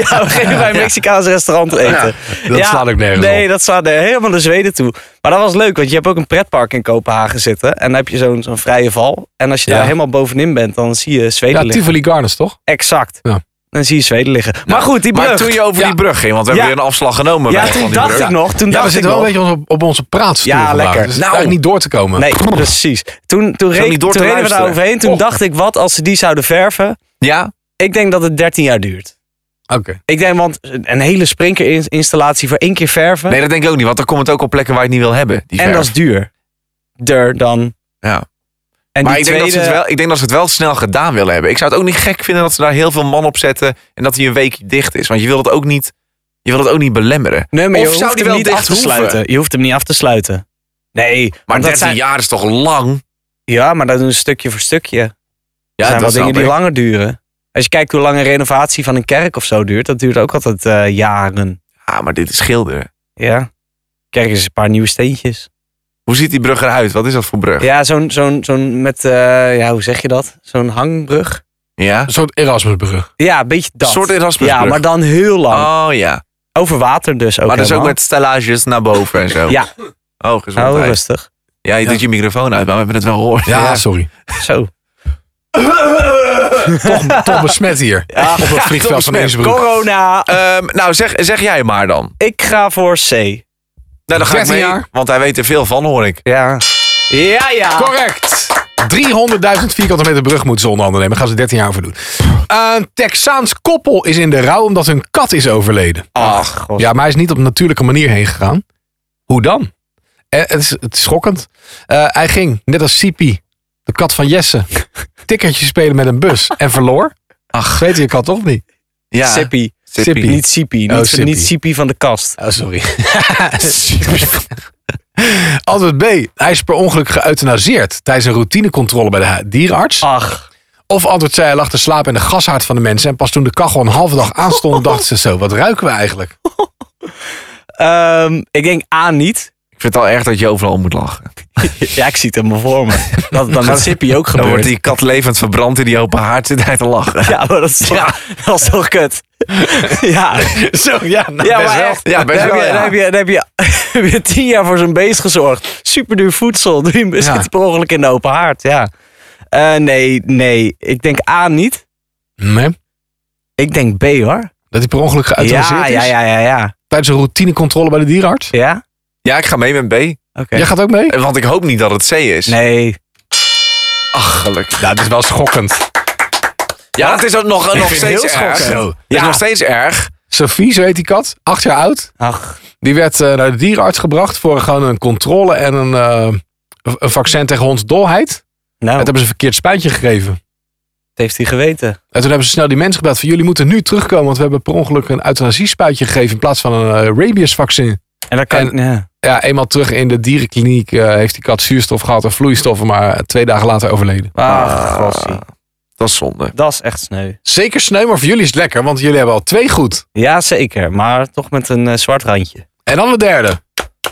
Speaker 2: ja, we gingen bij een Mexicaans restaurant eten.
Speaker 4: Dat
Speaker 2: Ja,
Speaker 4: slaat ook nergens
Speaker 2: nee,
Speaker 4: op.
Speaker 2: dat slaat eh, helemaal naar Zweden toe. Maar dat was leuk, want je hebt ook een pretpark in Kopenhagen zitten. En dan heb je zo'n zo'n vrije val. En als je
Speaker 4: Ja.
Speaker 2: daar helemaal bovenin bent, dan zie je Zweden
Speaker 4: Ja,
Speaker 2: liggen.
Speaker 4: Tivoli Gardens, toch?
Speaker 2: Exact.
Speaker 4: Ja.
Speaker 2: Dan zie je Zweden liggen. maar goed, die brug.
Speaker 3: Maar toen je over
Speaker 4: Ja.
Speaker 3: die brug ging, want we
Speaker 2: Ja.
Speaker 3: hebben weer een afslag genomen.
Speaker 2: ja,
Speaker 3: bij- van
Speaker 2: toen
Speaker 3: die
Speaker 2: dacht
Speaker 3: brug.
Speaker 2: ik nog. Toen
Speaker 4: Ja, we
Speaker 2: dacht ik
Speaker 4: zitten wel
Speaker 2: nog.
Speaker 4: een beetje op, op onze praatstoel
Speaker 2: Ja,
Speaker 4: vandaag.
Speaker 2: lekker.
Speaker 4: Dus
Speaker 3: Nou.
Speaker 4: nou, eigenlijk niet door te komen.
Speaker 2: Nee, precies. Toen, toen, reed,
Speaker 3: niet door
Speaker 2: toen
Speaker 3: te
Speaker 2: reden we daar
Speaker 3: luisteren.
Speaker 2: overheen. Toen
Speaker 4: Och.
Speaker 2: dacht ik, wat als ze die zouden verven?
Speaker 3: Ja,
Speaker 2: Ik denk dat het 13 jaar duurt.
Speaker 4: Oké.
Speaker 2: Ik denk, want een hele sprinkerinstallatie voor één keer verven.
Speaker 3: nee, dat denk ik ook niet, want dan komt het ook op plekken waar je het niet wil hebben. Die
Speaker 2: en
Speaker 3: verf.
Speaker 2: dat is duur. Duur dan.
Speaker 3: Ja.
Speaker 2: En
Speaker 3: maar
Speaker 2: die
Speaker 3: ik denk,
Speaker 2: tweede,
Speaker 3: dat ze het wel, ik denk dat ze het wel snel gedaan willen hebben. Ik zou het ook niet gek vinden dat ze daar heel veel man op zetten en dat hij een week dicht is. Want je wil het ook niet, je wil het ook niet belemmeren.
Speaker 2: Nee, maar
Speaker 3: Of
Speaker 2: je hoeft
Speaker 3: zou die
Speaker 2: hem
Speaker 3: wel
Speaker 2: niet
Speaker 3: dicht
Speaker 2: af te
Speaker 3: hoeven?
Speaker 2: sluiten. Je hoeft hem niet af te sluiten. Nee.
Speaker 3: Maar
Speaker 2: want
Speaker 3: 13
Speaker 2: dat zijn,
Speaker 3: jaar is toch lang?
Speaker 2: Ja, maar dat doen ze stukje voor stukje. Er
Speaker 3: Ja,
Speaker 2: zijn wel
Speaker 3: snap
Speaker 2: dingen die
Speaker 3: ik.
Speaker 2: langer duren. Als je kijkt hoe lang een renovatie van een kerk of zo duurt, dat duurt ook altijd eh, jaren.
Speaker 3: Ja, Ah, maar dit is schilderen.
Speaker 2: Ja. Kerk is een paar nieuwe steentjes.
Speaker 3: Hoe ziet die brug eruit? Wat is dat voor brug? Ja.
Speaker 2: Ja, zo'n zo'n zo'n met, eh, ja, hoe zeg je dat? Zo'n hangbrug.
Speaker 4: Een soort Erasmusbrug.
Speaker 2: Ja, een beetje dat.
Speaker 3: Een soort Erasmusbrug.
Speaker 2: Ja, maar dan heel lang.
Speaker 3: Oh ja.
Speaker 2: Over water dus ook
Speaker 3: maar dat is ook
Speaker 2: helemaal.
Speaker 3: met stellages naar boven en zo.
Speaker 2: Ja,
Speaker 3: Oh,
Speaker 2: hou
Speaker 3: gezondheid.
Speaker 2: rustig.
Speaker 3: ja, je doet je microfoon uit, maar we hebben het wel gehoord.
Speaker 4: Ja, sorry.
Speaker 2: Zo.
Speaker 4: Toch, toch besmet hier. op het
Speaker 3: toch
Speaker 4: vliegveld van
Speaker 3: besmet.
Speaker 4: Innsbruck.
Speaker 2: Corona.
Speaker 3: Ehm, nou, zeg, zeg jij maar dan.
Speaker 2: Ik ga voor C.
Speaker 3: Nou, dan ga ik
Speaker 4: 13
Speaker 3: mee,
Speaker 4: jaar.
Speaker 3: want hij weet er veel van, hoor ik.
Speaker 2: Ja. Ja, ja.
Speaker 4: Correct. 300.000 vierkante meter brug moeten ze onder andere nemen. Daar gaan ze 13 jaar over doen. Een Texaans koppel is in de rouw omdat hun kat is overleden.
Speaker 2: Ach, god.
Speaker 4: Ja, maar hij is niet op een natuurlijke manier heen gegaan. Hoe dan? Eh, het, is, het is schokkend. Eh, hij ging, net als Sipi, de kat van Jesse, tikkertje spelen met een bus en verloor. Ach, weet je je kat toch niet?
Speaker 3: Ja.
Speaker 2: Sippy.
Speaker 4: Sippy.
Speaker 2: Niet Sippy. Niet,
Speaker 4: Oh,
Speaker 2: van-
Speaker 4: Sippy.
Speaker 2: niet Sippy van de kast.
Speaker 4: Oh, sorry. Antwoord B. Hij is per ongeluk geëuthanaseerd tijdens een routinecontrole bij de hu- dierenarts.
Speaker 2: Ach.
Speaker 4: Of antwoord C. Hij lag te slapen in de gashaard van de mensen. En pas toen de kachel een halve dag aanstond, dachten ze zo. Wat ruiken we eigenlijk?
Speaker 2: Ehm, ik denk A niet.
Speaker 3: Ik vind het al erg dat je overal om moet lachen.
Speaker 2: Ja, ik zie het helemaal voor me. Dat het dan met Sippy ook
Speaker 3: Dan wordt
Speaker 2: gebeurt.
Speaker 3: die kat levend verbrand in die open haard. Zit hij te lachen.
Speaker 2: Dus- Ja, maar dat is toch, dat is toch kut? Ja,
Speaker 3: Zo, ja, nou,
Speaker 2: ja
Speaker 3: best
Speaker 2: maar
Speaker 3: wel.
Speaker 2: echt.
Speaker 3: Ja, best
Speaker 2: daar, heb
Speaker 3: wel,
Speaker 2: je,
Speaker 3: ja.
Speaker 2: daar, heb je, daar heb je, heb je tien jaar voor zo'n beest gezorgd. Superduur voedsel. Doe je hem
Speaker 4: Ja.
Speaker 2: zit per ongeluk in de open haard. Ja. Eh, nee, nee. Ik denk A niet.
Speaker 4: Nee?
Speaker 2: Ik denk B hoor.
Speaker 4: Dat hij per ongeluk geautoriseerd
Speaker 2: Ja,
Speaker 4: is?
Speaker 2: ja, ja, ja, ja.
Speaker 4: Tijdens een routinecontrole bij de dierenarts?
Speaker 2: Ja?
Speaker 3: Ja, ik ga mee met B.
Speaker 2: Oké.
Speaker 4: Jij gaat ook mee?
Speaker 3: Want ik hoop niet dat het C is.
Speaker 2: Nee.
Speaker 3: Ach, gelukkig.
Speaker 4: Ja, dat is wel schokkend.
Speaker 3: Ja, het is ook nog, nog steeds erg.
Speaker 4: schokkend.
Speaker 3: Het is nog steeds erg.
Speaker 4: Sophie, zo heet die kat, acht jaar oud.
Speaker 2: Ach.
Speaker 4: Die werd eh, naar de dierenarts gebracht voor gewoon een controle en een, eh, een vaccin tegen hondsdolheid. En
Speaker 2: Nou,
Speaker 4: toen
Speaker 2: dat
Speaker 4: hebben ze een verkeerd spuitje gegeven.
Speaker 2: heeft hij geweten.
Speaker 4: En toen hebben ze snel die mensen gebeld van jullie moeten nu terugkomen, want we hebben per ongeluk een euthanasie-spuitje gegeven in plaats van een eh, rabiesvaccin.
Speaker 2: En dat kan... ja.
Speaker 4: Ja, eenmaal terug in de dierenkliniek eh, heeft die kat zuurstof gehad en vloeistoffen, maar twee dagen later overleden.
Speaker 3: Ah.
Speaker 2: Ach, gossie.
Speaker 3: Dat is zonde.
Speaker 2: Dat is echt sneu.
Speaker 4: Zeker sneu, maar voor jullie is het lekker, want jullie hebben al twee goed.
Speaker 2: Jazeker, maar toch met een eh, zwart randje.
Speaker 4: En dan de derde.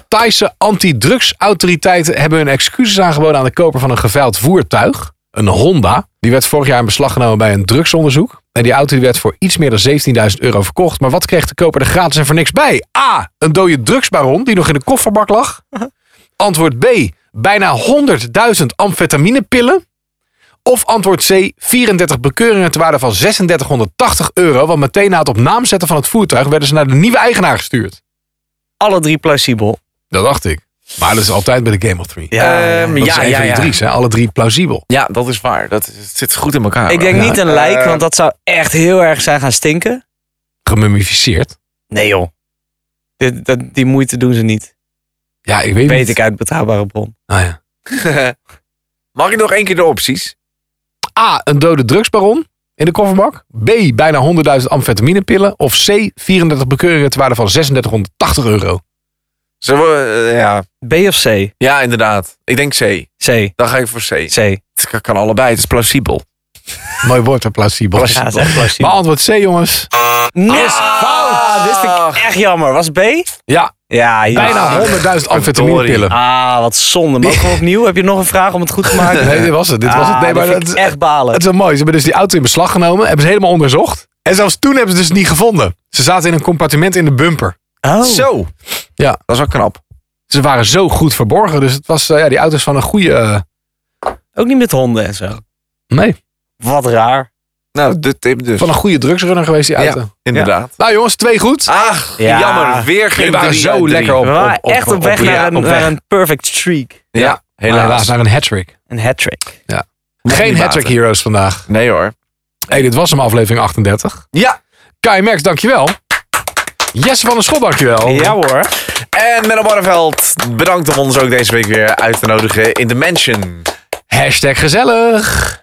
Speaker 4: Thaise antidrugsautoriteiten hebben hun excuses aangeboden aan de koper van een geveild voertuig, een Honda. Die werd vorig jaar in beslag genomen bij een drugsonderzoek. En die auto die werd voor iets meer dan 17.000 euro verkocht. Maar wat kreeg de koper er gratis en voor niks bij? A. Een dode drugsbaron die nog in de kofferbak lag. Antwoord B. Bijna 100.000 amfetaminepillen. Of antwoord C. 34 bekeuringen ter waarde van 3680 euro. Want meteen na het op naam zetten van het voertuig werden ze naar de nieuwe eigenaar gestuurd.
Speaker 2: Alle drie plausibel.
Speaker 4: Dat dacht ik. Maar dat is altijd bij de Game of Three.
Speaker 2: Ja,
Speaker 3: Ehm,
Speaker 4: dat is een van die drie's, hè? alle drie plausibel.
Speaker 3: Ja, dat is waar. Dat is- het zit goed in elkaar.
Speaker 2: Ik denk
Speaker 4: Ja.
Speaker 2: niet een lijk, want dat zou echt heel erg zijn gaan stinken.
Speaker 4: Gemummificeerd.
Speaker 2: Nee joh. Dit, dat, die moeite doen ze niet.
Speaker 4: Ja, ik weet
Speaker 2: Weet
Speaker 4: niet.
Speaker 2: ik uit betrouwbare bron.
Speaker 4: Ah, ja.
Speaker 3: Mag ik nog één keer de opties?
Speaker 4: A, een dode drugsbaron in de kofferbak. B, bijna 100.000 amfetaminepillen. Of C, 34 bekeuringen ter waarde van 3680 euro.
Speaker 3: Zullen we, eh, ja.
Speaker 2: B of C?
Speaker 3: ja, inderdaad. Ik denk C.
Speaker 2: C.
Speaker 3: Dan ga ik voor C.
Speaker 2: C.
Speaker 3: Het kan- kan allebei. Het is plausibel.
Speaker 4: Mooi woord, hè, plausibel.
Speaker 2: Ja, dat is echt
Speaker 4: Maar
Speaker 2: plausibel.
Speaker 4: antwoord C, jongens.
Speaker 2: Nee, is fout! Ah! Dit vind ik echt jammer. Was B?
Speaker 4: Ja,
Speaker 2: Ja, hier-
Speaker 4: bijna 100.000 amfetaminepillen.
Speaker 2: Ah, wat zonde. Maar gewoon opnieuw. Heb je nog een vraag om het goed te maken?
Speaker 4: Nee, dit was het. Dit was het. Nee,
Speaker 2: Ah, dit
Speaker 4: maar
Speaker 2: Ah, vind
Speaker 4: dat
Speaker 2: ik
Speaker 4: is
Speaker 2: echt balen.
Speaker 4: Het is wel mooi. Ze hebben dus die auto in beslag genomen, hebben ze helemaal onderzocht. En zelfs toen hebben ze dus niet gevonden. Ze zaten in een compartiment in de bumper.
Speaker 2: Oh.
Speaker 3: Zo.
Speaker 4: Ja.
Speaker 3: Dat is wel knap.
Speaker 4: Ze waren zo goed verborgen, dus het was eh, ja, die auto's van een goede. eh,
Speaker 2: Ook niet met honden en zo.
Speaker 4: nee,
Speaker 2: Wat raar.
Speaker 3: Nou, de tip dus.
Speaker 4: van een goede drugsrunner geweest die auto.
Speaker 3: Inderdaad.
Speaker 4: Nou jongens, twee goed.
Speaker 3: Ach,
Speaker 2: Ja.
Speaker 3: jammer. Weer geen
Speaker 4: Jullie waren
Speaker 3: drie
Speaker 4: zo
Speaker 3: uit drie.
Speaker 4: lekker op.
Speaker 2: We waren echt op, weg,
Speaker 4: ja,
Speaker 2: naar, een,
Speaker 4: op weg.
Speaker 2: naar een perfect streak.
Speaker 3: Ja,
Speaker 4: Maar
Speaker 3: helaas.
Speaker 4: naar een hat-trick.
Speaker 2: Een hat-trick.
Speaker 4: Geen
Speaker 3: niet
Speaker 4: hat-trick
Speaker 3: baten.
Speaker 4: heroes vandaag.
Speaker 3: Nee hoor.
Speaker 4: hey, dit was hem aflevering 38.
Speaker 3: Ja.
Speaker 4: Kai Merks, dankjewel. Jesse van der Schot, dankjewel.
Speaker 2: Ja hoor.
Speaker 3: En Menno Barneveld, bedankt om ons ook deze week weer uit te nodigen in de Mansion.
Speaker 4: Hashtag gezellig.